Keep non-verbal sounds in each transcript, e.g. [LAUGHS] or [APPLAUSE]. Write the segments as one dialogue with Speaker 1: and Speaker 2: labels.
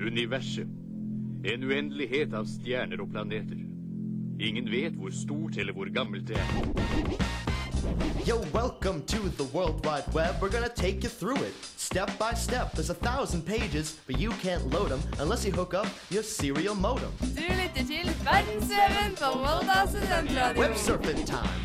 Speaker 1: Universet. En uendelighet av stjerner og planeter. Ingen vet hvor stort eller hvor gammelt det er.
Speaker 2: Yo, welcome to the World Wide Web. We're gonna take you through it step by step. There's a thousand pages, but you can't load them unless you hook up your serial modem.
Speaker 3: Du lytter til Verdensveven på Volda
Speaker 2: Web
Speaker 3: studentradio.
Speaker 2: surfing time.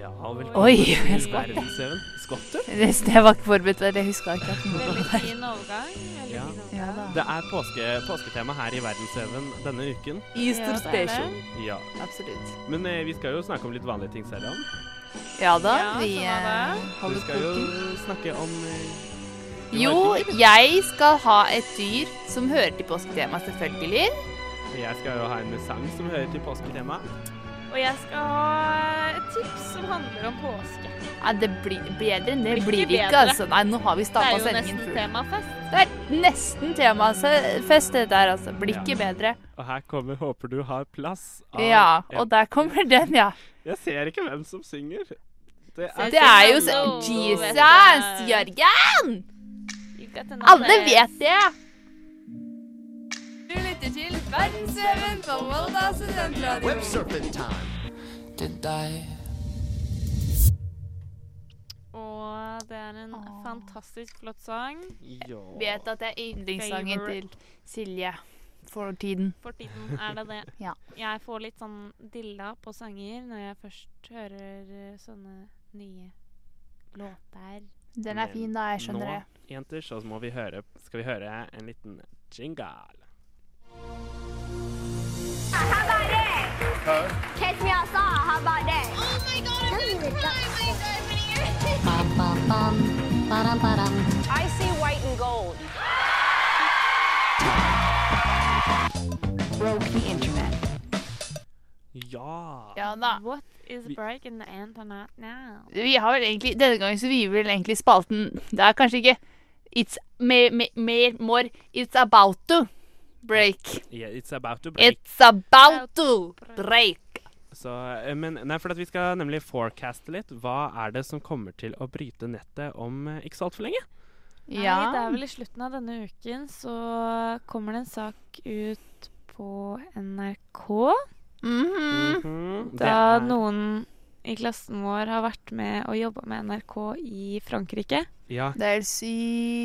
Speaker 4: Ja, velkommen
Speaker 5: Oi,
Speaker 4: til
Speaker 5: jeg skvatt.
Speaker 4: Verdensveven. Skvatt du?
Speaker 5: Det jeg var ikke forberedt på det. Jeg huska ikke at den var
Speaker 3: Veldig
Speaker 5: der.
Speaker 3: fin overgang. Veldig
Speaker 4: Ja.
Speaker 3: fin
Speaker 5: Ja da.
Speaker 3: overgang.
Speaker 4: Det er påske, påsketema her i Verdensveven denne uken.
Speaker 5: Easter
Speaker 3: Ja, det er
Speaker 5: special.
Speaker 3: det.
Speaker 4: Ja.
Speaker 5: Absolutt.
Speaker 4: Men eh, vi skal jo snakke om litt vanlige ting selv om.
Speaker 5: Ja da,
Speaker 3: Ja,
Speaker 5: vi
Speaker 3: sånn er det.
Speaker 5: eh,
Speaker 4: Vi
Speaker 5: holder
Speaker 4: skal jo
Speaker 5: koken.
Speaker 4: snakke om eh,
Speaker 5: Jo, jeg skal ha et dyr som hører til påsketemaet, selvfølgelig.
Speaker 4: Jeg skal jo ha en sang som hører til påsketema.
Speaker 3: Og jeg skal ha et tips som handler om påske.
Speaker 5: Nei, det blir bedre enn det.
Speaker 3: Blir
Speaker 5: Blir
Speaker 3: ikke
Speaker 5: det ikke,
Speaker 3: bedre.
Speaker 5: altså. Nei, nå har vi
Speaker 3: Det er
Speaker 5: stappa
Speaker 3: jo
Speaker 5: sendingen
Speaker 3: nesten
Speaker 5: full.
Speaker 3: temafest.
Speaker 5: Det er nesten temafest, dette her, altså. Blir ikke bedre.
Speaker 4: Og her kommer 'Håper du har plass' av
Speaker 5: Ja,
Speaker 4: en-
Speaker 5: og der kommer den, ja.
Speaker 4: Jeg ser ikke hvem som synger. Det er
Speaker 3: Ser-
Speaker 5: Det er jo så
Speaker 3: Hallo, vet
Speaker 5: Jesus,
Speaker 3: jeg.
Speaker 5: Jørgen!
Speaker 3: You've got another-
Speaker 5: Alle vet det.
Speaker 3: Du lytter til Verdensveven på Volda studentradio.
Speaker 2: Web surfing time.
Speaker 3: Og det er en fantastisk flott sang
Speaker 4: ja.
Speaker 5: Vet at det er yndlingssangen til Silje for tiden.
Speaker 3: For tiden er det det.
Speaker 5: Ja.
Speaker 3: Jeg får litt sånn dilla på sanger når jeg først hører eh, sånne nye låter.
Speaker 5: Den er fin, da. Jeg skjønner det.
Speaker 4: Nå, jenter, så må vi høre, skal vi høre en liten jingle.
Speaker 6: Kiss me outside, how about that? Oh my god, I'm gonna cry when you guys I see white and gold.
Speaker 4: Ja!
Speaker 5: Ja da.
Speaker 3: What is
Speaker 4: Vi-
Speaker 3: break in the internet now?
Speaker 5: Vi har vel egentlig, Denne gangen så vi vel egentlig spalten Det er kanskje ikke It's mer, mer, mer more It's about to break.
Speaker 4: Yeah, it's about to break.
Speaker 5: It's about to break.
Speaker 4: Så, eh, men nei, for at vi skal nemlig forecaste litt. Hva er det som kommer til å bryte nettet om eh, ikke så altfor lenge?
Speaker 3: Nei, det er
Speaker 5: Ja.
Speaker 3: vel i slutten av denne uken så kommer det en sak ut på NRK.
Speaker 5: Mhm.
Speaker 4: Mhm, det
Speaker 3: Da
Speaker 4: er-
Speaker 3: noen i klassen vår har vært med og jobba med NRK i Frankrike.
Speaker 4: Ja,
Speaker 5: Det er helt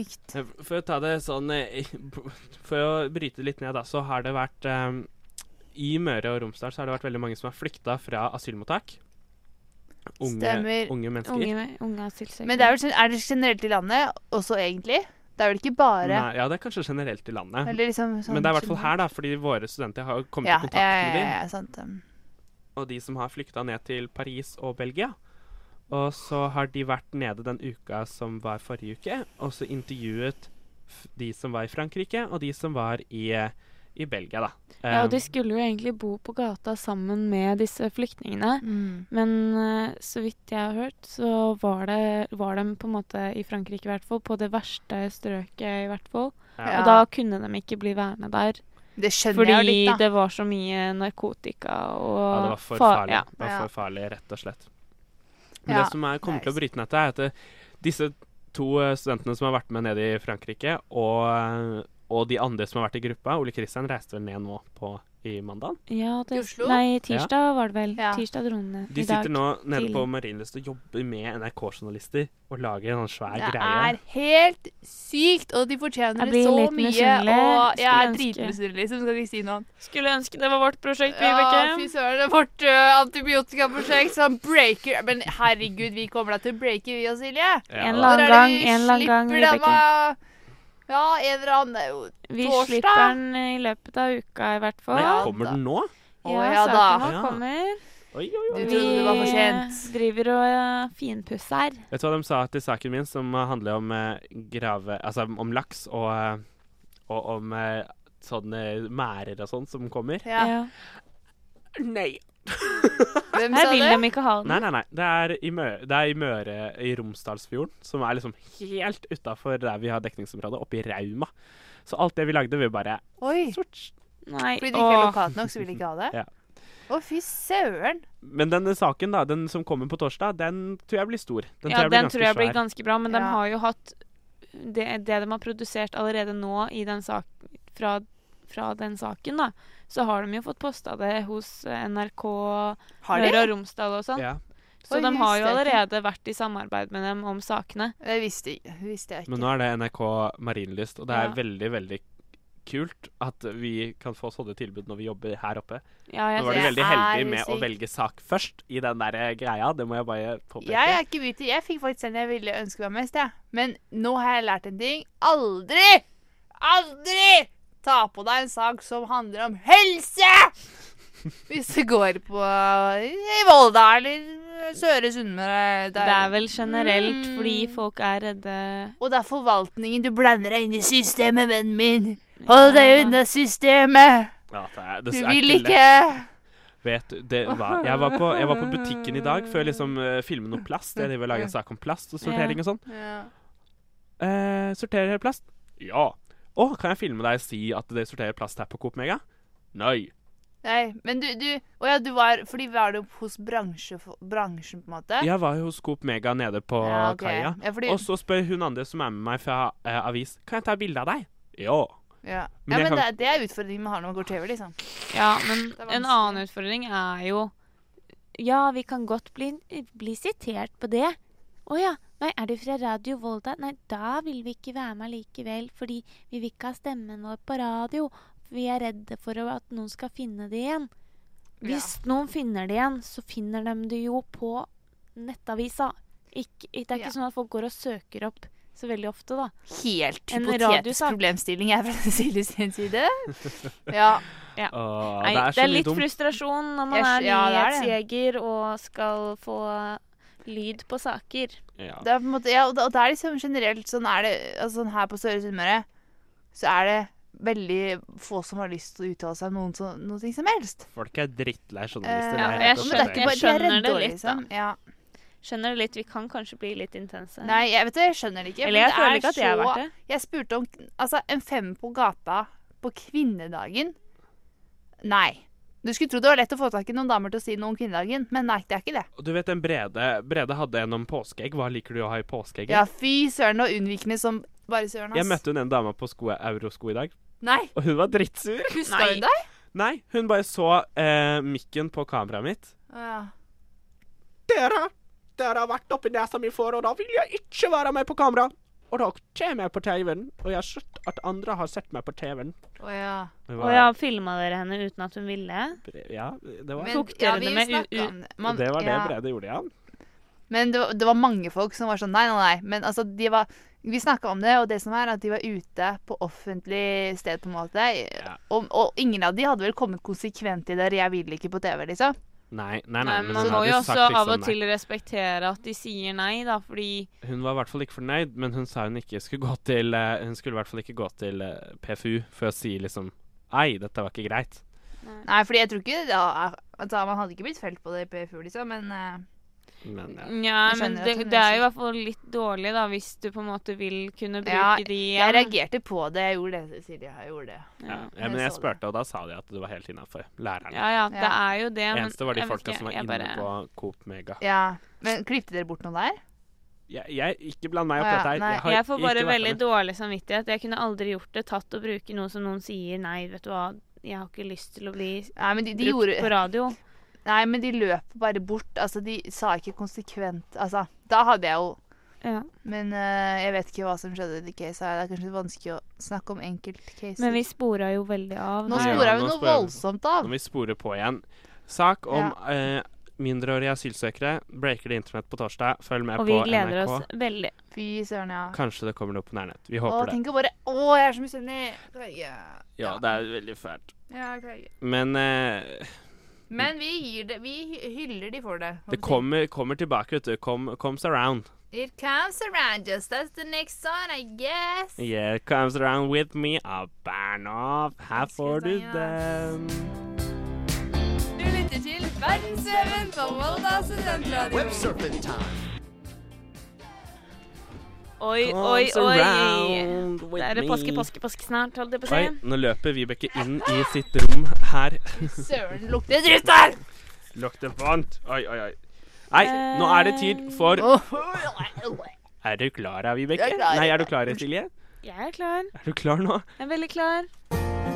Speaker 5: sykt.
Speaker 4: eh, for å ta det sånn eh, For å bryte litt ned, da, så har det vært eh, I Møre og Romsdal så har det vært veldig mange som har flykta fra asylmottak. Unge,
Speaker 5: Stemmer.
Speaker 4: unge mennesker.
Speaker 3: Unge, unge asylsøkere.
Speaker 5: Men det er, vel, sånn- er det generelt i landet også, egentlig? Det er vel ikke bare
Speaker 4: Nei, ja, det er kanskje generelt i landet.
Speaker 5: eller liksom, sånn,
Speaker 4: Men det er i hvert fall her, da, fordi våre studenter har jo kommet
Speaker 5: Ja,
Speaker 4: i
Speaker 5: ja,
Speaker 4: kontakt med
Speaker 5: ja,
Speaker 4: dem.
Speaker 5: ja, sant. um.
Speaker 4: og de som har flykta ned til Paris og Belgia. Og så har de vært nede den uka som var forrige uke, og så intervjuet f de som var i Frankrike, og de som var i, eh, i Belgia, da.
Speaker 3: ja, og de
Speaker 4: Um,
Speaker 3: skulle jo egentlig bo på gata sammen med disse flyktningene.
Speaker 5: Mm.
Speaker 3: Men eh, så vidt jeg har hørt, så var, det, var de på en måte i Frankrike i hvert fall, på det verste strøket i hvert fall.
Speaker 4: ja.
Speaker 3: Og da kunne de ikke bli værende der.
Speaker 5: Det skjønner
Speaker 3: Fordi
Speaker 5: jeg jo litt, da.
Speaker 3: det var så mye narkotika og
Speaker 4: Um, ja, det var for
Speaker 3: fa-
Speaker 4: farlig.
Speaker 3: ja.
Speaker 4: Det var
Speaker 5: Ja.
Speaker 4: for farlig, rett og slett. Men
Speaker 5: Ja,
Speaker 4: det som er, kommer til å
Speaker 5: nice.
Speaker 4: bryte nettet, er at eh, disse to eh, studentene som har vært med nede i Frankrike, og, eh, og de andre som har vært i gruppa Ole Kristian reiste vel ned nå på i mandag.
Speaker 3: Ja, det,
Speaker 5: I Oslo?
Speaker 3: Nei, tirsdag var det vel.
Speaker 5: Ja.
Speaker 3: Tirsdag dro den ned.
Speaker 4: De
Speaker 3: I dag.
Speaker 4: sitter nå nede
Speaker 3: til-
Speaker 4: på Marienlyst og jobber med NRK-journalister og lager en sånn svær
Speaker 5: Det
Speaker 4: greie.
Speaker 5: er helt sykt, og de fortjener
Speaker 3: Jeg
Speaker 5: det
Speaker 3: blir
Speaker 5: så
Speaker 3: litt
Speaker 5: mye.
Speaker 3: misunnelig.
Speaker 5: Og jeg er
Speaker 3: Skulle ønske-
Speaker 5: dritmisunnelig, som skal ikke si noe annet.
Speaker 3: Skulle ønske det var vårt prosjekt,
Speaker 5: Ja, fy
Speaker 3: Vibeke.
Speaker 5: søren, det er vårt ø, antibiotikaprosjekt som breaker Men herregud, vi kommer da til å breake, vi og Silje.
Speaker 4: Ja,
Speaker 3: En
Speaker 4: da.
Speaker 3: eller
Speaker 5: Når
Speaker 3: annen
Speaker 5: er det
Speaker 3: gang,
Speaker 5: vi
Speaker 3: en eller annen gang,
Speaker 5: slipper dem
Speaker 3: Vibeke.
Speaker 5: av- Ja, en eller annen det er jo-
Speaker 3: Vi
Speaker 5: Torsdag.
Speaker 3: slipper den i løpet av uka, i hvert fall.
Speaker 4: Nei,
Speaker 5: Ja,
Speaker 4: kommer
Speaker 5: da.
Speaker 4: den nå?
Speaker 5: Å, ja da.
Speaker 3: saken nå
Speaker 4: Ja.
Speaker 3: kommer.
Speaker 4: Oi, oi, oi.
Speaker 5: Du trodde det var for sent.
Speaker 3: Vi driver og eh, finpusser.
Speaker 4: Vet du hva de sa til saken min, som eh, handler om eh, grave... Altså om laks og, eh, og om eh, sånne mærer og sånn som kommer?
Speaker 5: Ja.
Speaker 3: Ja.
Speaker 4: Nei.
Speaker 5: Hvem
Speaker 3: Her vil
Speaker 5: sa det?
Speaker 3: de ikke ha den.
Speaker 4: Nei, nei, nei. Det er i Møre, det er i, Møre i Romsdalsfjorden, som er liksom helt utafor der vi har dekningsområdet, oppe i Rauma. Så alt det vi lagde, vi bare
Speaker 5: Oi.
Speaker 4: Sorts.
Speaker 3: Nei,
Speaker 5: Fordi det ikke er
Speaker 3: åh.
Speaker 5: lokalt nok, så vil de ikke ha det?
Speaker 4: Ja.
Speaker 5: Å, fy søren.
Speaker 4: Men denne saken, da, den som kommer på torsdag, den tror jeg blir stor. Den
Speaker 3: ja,
Speaker 4: tror jeg blir
Speaker 3: den
Speaker 4: ganske
Speaker 3: tror jeg blir
Speaker 4: svær.
Speaker 3: ganske bra, men
Speaker 5: Ja.
Speaker 3: de har jo hatt det, det de har produsert allerede nå i den sak fra, fra den saken, da, så har de jo fått posta det hos eh, NRK
Speaker 5: Har
Speaker 3: Møre
Speaker 5: de?
Speaker 3: og Romsdal og sånn.
Speaker 4: Ja.
Speaker 3: Så
Speaker 5: Oi,
Speaker 3: de har jo
Speaker 5: visste jeg ikke.
Speaker 3: allerede vært i samarbeid med dem om sakene.
Speaker 5: Det visste, jeg- visste jeg ikke.
Speaker 4: Men nå er det NRK Marienlyst, og det er
Speaker 3: Ja.
Speaker 4: veldig, veldig kult at vi kan få sånne tilbud når vi jobber her oppe.
Speaker 3: Ja,
Speaker 4: Nå
Speaker 3: jeg,
Speaker 4: var du
Speaker 5: jeg
Speaker 4: veldig
Speaker 5: er
Speaker 4: heldig med å
Speaker 5: usikker.
Speaker 4: velge sak først i den der eh, greia, det må jeg bare påpeke.
Speaker 5: Jeg er ikke beauty. Jeg fikk faktisk den jeg ville ønske var mest. Jeg. Men nå har jeg lært en ting. Aldri! Aldri! Ta på deg en sak som handler om
Speaker 4: [LAUGHS]
Speaker 5: helse! Hvis du går på i Volda eller Søre Sunnmøre. der.
Speaker 3: det er vel generelt
Speaker 5: Mm.
Speaker 3: fordi folk er redde
Speaker 5: Og det er forvaltningen du blander deg inn i systemet, vennen min. Hold deg unna systemet!
Speaker 4: Ja, det er, det
Speaker 5: Du
Speaker 4: er
Speaker 5: vil
Speaker 4: lett.
Speaker 5: ikke
Speaker 4: Vet du, det var, jeg, var på, jeg var på butikken i dag før jeg liksom eh, filmet noe plast. Jeg driver og lager en sak om plast og sortering og sånn. Eh, sorterer dere plast? Ja. Å, kan jeg filme deg og si at dere sorterer plast her på Coop Mega? Nei.
Speaker 5: Nei, men du, du Å ja, du var Fordi var du hos bransje, bransjen, på en måte?
Speaker 4: Jeg var jo hos Coop Mega nede på
Speaker 5: Ja, ok.
Speaker 4: kaia.
Speaker 5: Ja, fordi-
Speaker 4: Og så spør hun andre som er med meg fra eh, avis, kan jeg ta bilde av deg? Ja.
Speaker 5: Ja, men,
Speaker 4: Men jeg
Speaker 5: ja, men
Speaker 4: kan-
Speaker 5: det, det er utfordringen med å ha noe går TV, liksom.
Speaker 3: Ja, men
Speaker 5: er
Speaker 3: en
Speaker 5: vanskelig.
Speaker 3: annen utfordring er jo Ja, vi kan godt bli, bli sitert på det. Å ja. Nei, er du fra Radio Volda? Nei, da vil vi ikke være med likevel. Fordi vi vil ikke ha stemmen vår på radio. Vi er redde for at noen skal finne det igjen. Hvis noen finner det igjen, så finner de det jo på nettavisa. Ikke, det er ikke
Speaker 5: Ja.
Speaker 3: sånn at folk går og søker opp så veldig ofte, da.
Speaker 5: Helt
Speaker 3: En
Speaker 5: hypotetisk
Speaker 3: radiosak.
Speaker 5: problemstilling jeg fra Silje sin
Speaker 4: [LAUGHS]
Speaker 5: side. Ja.
Speaker 4: Åh,
Speaker 3: Nei,
Speaker 4: det er så mye
Speaker 3: litt
Speaker 4: dumt.
Speaker 3: frustrasjon når man
Speaker 5: Jeg
Speaker 3: er
Speaker 5: skj- ja, det er
Speaker 3: nyhetsjeger og skal få lyd på saker.
Speaker 4: Ja.
Speaker 5: Det er på en måte, ja, og det- og det er liksom generelt sånn er det altså, sånn Her på Søre Sunnmøre så er det veldig få som har lyst til å uttale seg om noen som- noe som helst.
Speaker 4: Folk er drittlei
Speaker 5: Eh,
Speaker 4: journalister.
Speaker 3: Ja,
Speaker 4: det er
Speaker 3: jeg
Speaker 4: helt
Speaker 5: men det er
Speaker 3: skjønner-
Speaker 5: ikke bare-
Speaker 4: absurd.
Speaker 5: de er
Speaker 3: skjønner det
Speaker 5: redde, liksom.
Speaker 3: litt, da.
Speaker 5: Ja.
Speaker 3: Skjønner det litt. Vi kan kanskje bli litt intense.
Speaker 5: Nei, jeg vet det, jeg skjønner det ikke.
Speaker 3: Eller jeg
Speaker 5: men det
Speaker 3: føler
Speaker 5: er
Speaker 3: ikke at jeg har
Speaker 5: så-
Speaker 3: vært det.
Speaker 5: Jeg spurte om altså, en fem på gata på kvinnedagen. Nei. Du skulle tro det var lett å få tak i noen damer til å si noe om kvinnedagen, men nei, det er ikke det.
Speaker 4: Og Du vet den Brede, Brede hadde en om påskeegg. Hva liker du å ha i påskeegget?
Speaker 5: Ja, fy søren og unnvikende som bare søren, ass.
Speaker 4: Jeg møtte hun en dame på sko, eurosko i dag,
Speaker 5: Nei,
Speaker 4: og hun var drittsur.
Speaker 5: huska
Speaker 3: Nei.
Speaker 5: hun deg?
Speaker 4: Nei, hun bare så eh, mikken på kameraet mitt.
Speaker 5: Å, Ja.
Speaker 4: Dere! Dere har vært oppi nesa mi før, og da vil jeg ikke være med på kamera. Og da kommer jeg på TV-en, og jeg har sett at andre har sett meg på TV-en.
Speaker 5: Å, ja.
Speaker 4: Det
Speaker 3: Og ja, filma dere henne uten at hun ville?
Speaker 4: ja, det var,
Speaker 5: Men,
Speaker 3: Tok
Speaker 5: ja,
Speaker 3: dere
Speaker 5: vi
Speaker 3: det med u-
Speaker 5: snakket
Speaker 3: u-
Speaker 5: om det. Man-
Speaker 4: det, var det
Speaker 5: ja.
Speaker 4: Brede gjorde, ja.
Speaker 5: Men det var, det var mange folk som var sånn nei, nei, nei. Men altså, de var Vi snakka om det, og det som er at de var ute på offentlig sted, på en måte. Og, og ingen av de hadde vel kommet konsekvent i det 'jeg vil ikke' på TV, liksom.
Speaker 4: Nei, nei, nei.
Speaker 3: Nei,
Speaker 4: men
Speaker 3: man
Speaker 4: hun
Speaker 3: må
Speaker 4: hadde
Speaker 3: jo
Speaker 4: sagt
Speaker 3: også av
Speaker 4: liksom
Speaker 3: og til respektere at de sier nei, da, fordi
Speaker 4: nei. Hun var i hvert fall ikke fornøyd, men hun sa hun ikke skulle gå til eh, Hun skulle i hvert fall ikke gå til eh, PFU for å si liksom Ei, dette var ikke greit.
Speaker 5: Nei, fordi jeg tror ikke da, altså, Man hadde ikke blitt felt på det i PFU, liksom, men eh,
Speaker 4: Men ja.
Speaker 3: Nja,
Speaker 5: Jeg skjønner
Speaker 3: men
Speaker 5: at
Speaker 3: det,
Speaker 5: hun
Speaker 3: det er
Speaker 5: er
Speaker 3: jo i hvert fall litt dårlig, da, hvis du på en måte vil kunne bruke
Speaker 5: Ja,
Speaker 3: de
Speaker 5: jeg
Speaker 3: igjen.
Speaker 5: reagerte på det. Jeg gjorde det, Silje. Jeg gjorde det.
Speaker 4: Ja.
Speaker 3: Ja.
Speaker 4: men jeg
Speaker 5: så det.
Speaker 4: spurte, og da sa de at det var helt innafor. Lærerne.
Speaker 3: Ja, ja, det
Speaker 5: Ja.
Speaker 3: er jo det, men
Speaker 4: Eneste var de
Speaker 3: jeg vet
Speaker 4: folka
Speaker 3: ikke,
Speaker 4: som var
Speaker 3: jeg
Speaker 4: inne
Speaker 3: bare-
Speaker 4: på Coop Mega.
Speaker 5: Ja. Men klippte dere bort noe der?
Speaker 4: Jeg, jeg, ikke bland meg opp
Speaker 5: Å
Speaker 4: i
Speaker 5: ja,
Speaker 4: dette her.
Speaker 5: nei,
Speaker 4: har
Speaker 3: Jeg får
Speaker 4: ikke
Speaker 3: bare
Speaker 4: vært
Speaker 3: veldig
Speaker 4: med.
Speaker 3: dårlig samvittighet. Jeg kunne aldri gjort det tatt å bruke noe som noen sier nei, vet du hva, jeg har ikke lyst til å bli
Speaker 5: Nei, men de, de
Speaker 3: brukt på
Speaker 5: gjorde
Speaker 3: radio.
Speaker 5: Nei, men de løp bare bort. Altså, de sa ikke konsekvent Altså, da hadde jeg jo
Speaker 3: Ja.
Speaker 5: Men eh, jeg vet ikke hva som skjedde i de casene. her. Det er kanskje litt vanskelig å snakke om enkeltcaser.
Speaker 3: Men vi spora jo veldig av.
Speaker 5: Nå
Speaker 4: Ja,
Speaker 5: sporer
Speaker 4: nå
Speaker 5: vi noe
Speaker 4: sporer vi.
Speaker 5: voldsomt av.
Speaker 4: Når vi sporer på igjen. Sak om eh, mindreårige asylsøkere. Breaker det internett på torsdag? Følg med
Speaker 3: og vi
Speaker 4: på
Speaker 3: gleder
Speaker 4: NRK.
Speaker 3: oss veldig.
Speaker 5: Fy søren, ja.
Speaker 4: Kanskje det kommer noe på nærnett. Vi
Speaker 5: Å,
Speaker 4: håper det.
Speaker 5: tenk å bare Å, jeg er så misunnelig. Det var- Ja,
Speaker 4: Ja, det er veldig fælt.
Speaker 5: ja, jeg klarer ikke.
Speaker 4: Men eh,
Speaker 5: Men vi gir det Vi hy- hyller de for det.
Speaker 4: det kommer, kommer tilbake, vet du. Kom, comes around.
Speaker 5: It comes around just as the next song, I guess.
Speaker 4: Yeah, comes around with me. I'll burn off. Her får du
Speaker 5: Skulle
Speaker 4: den.
Speaker 5: Du lytter til Verdensveven på Volda
Speaker 2: Web
Speaker 5: studentradio.
Speaker 2: surfing time.
Speaker 3: Oi, oi,
Speaker 4: Comes
Speaker 3: oi.
Speaker 4: around with
Speaker 3: Det er det påske,
Speaker 4: me.
Speaker 3: påske, påske snart, holdt jeg på å si.
Speaker 4: Oi, nå løper Vibeke inn i sitt rom her.
Speaker 5: Søren, lukter dritt her!
Speaker 4: Lukter vondt. Oi, oi, oi. Nei, nå er det tid for
Speaker 2: Eh.
Speaker 4: [LAUGHS] Er du klar, da, Vibeke?
Speaker 5: Jeg er klar.
Speaker 4: Nei, er du klar, Silje?
Speaker 3: Jeg er klar.
Speaker 4: Er du klar nå?
Speaker 3: Jeg er veldig klar.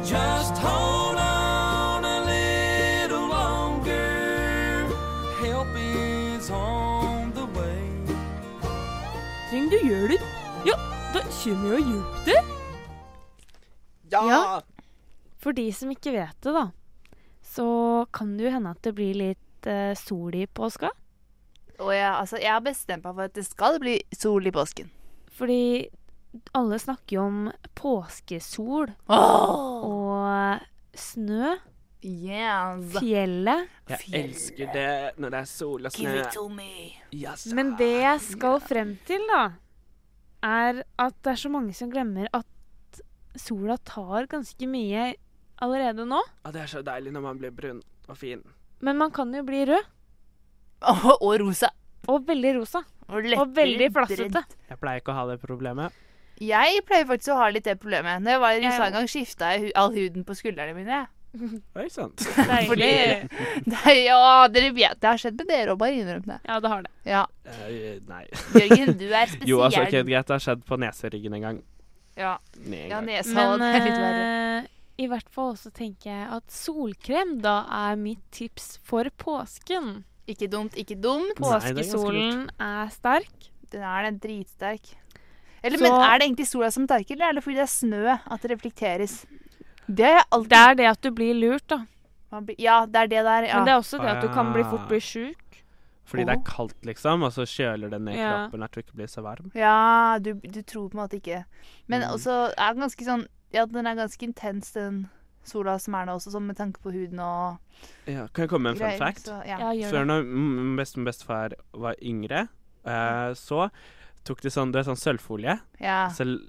Speaker 7: Just hold on a little longer. Help is on the way.
Speaker 8: Trenger du hjelp? Ja, da kommer jeg og hjelper deg.
Speaker 3: Ja. For de som ikke vet det, da, så kan det jo hende at det blir litt eh, sol i påska.
Speaker 5: Og jeg, altså, jeg har bestemt meg for at det skal bli sol i påsken.
Speaker 3: Fordi alle snakker jo om påskesol
Speaker 5: Oh,
Speaker 3: og snø,
Speaker 5: yes.
Speaker 3: fjellet.
Speaker 4: Jeg elsker det når det er sol og snø.
Speaker 5: me. [LAUGHS]
Speaker 4: Yes.
Speaker 3: Men det jeg skal frem til, da, er at det er så mange som glemmer at sola tar ganske mye allerede nå.
Speaker 4: Og det er så deilig når man blir brun og fin.
Speaker 3: Men man kan jo bli rød.
Speaker 5: og rosa.
Speaker 3: Og veldig rosa.
Speaker 5: Og,
Speaker 3: Og veldig flassete.
Speaker 4: Jeg pleier ikke å ha det problemet.
Speaker 5: Jeg pleier faktisk å ha litt det problemet. Når jeg var i
Speaker 3: Jeg
Speaker 5: USA
Speaker 3: òg.
Speaker 5: en gang, skifta jeg hu- all huden på skuldrene mine. [LAUGHS]
Speaker 4: Oi sann.
Speaker 5: Fordi Nei, ja, dere vet det har skjedd med dere òg, bare innrøm det.
Speaker 3: Ja, det har det.
Speaker 5: Ja.
Speaker 4: Eh, nei.
Speaker 5: Jørgen, du er spesiell.
Speaker 4: [LAUGHS] Jo, altså, ok, greit, det har skjedd på neseryggen en gang.
Speaker 5: ja.
Speaker 4: Nei, en
Speaker 5: ja,
Speaker 4: gang.
Speaker 5: neshalen
Speaker 3: Men
Speaker 5: er litt verre.
Speaker 3: eh, i hvert fall så tenker jeg at solkrem da er mitt tips for påsken.
Speaker 5: Ikke dumt, ikke dumt.
Speaker 3: Mm.
Speaker 4: Nei, det er ganske
Speaker 3: Påskesolen er sterk.
Speaker 5: Den er den dritsterk. Eller,
Speaker 3: Så-
Speaker 5: men er det egentlig sola som tar eller er det fordi det er snø at det reflekteres? Det er alltid
Speaker 3: Det er det at du blir lurt, da.
Speaker 5: man blir- Ja, det er det der. Ja.
Speaker 3: Men det er også det at du kan bli fort bli
Speaker 4: Ah.
Speaker 3: sjuk.
Speaker 4: Fordi det er kaldt, liksom, og så kjøler det ned
Speaker 3: Ja.
Speaker 4: kroppen at du ikke blir så varm.
Speaker 5: ja du, du tror på en måte ikke Men
Speaker 4: Mm.
Speaker 5: også er den ganske sånn Ja, den er ganske intens, den sola som er nå også, sånn med tanke på huden og
Speaker 4: Ja, kan jeg komme med en fun
Speaker 5: greier.
Speaker 4: fact?
Speaker 5: Så, ja.
Speaker 3: Ja, gjør
Speaker 4: Før
Speaker 3: det.
Speaker 4: når mm, best- bestefar var yngre, eh, så tok de sånn, du vet, sånn sølvfolie.
Speaker 5: ja.
Speaker 4: Så l-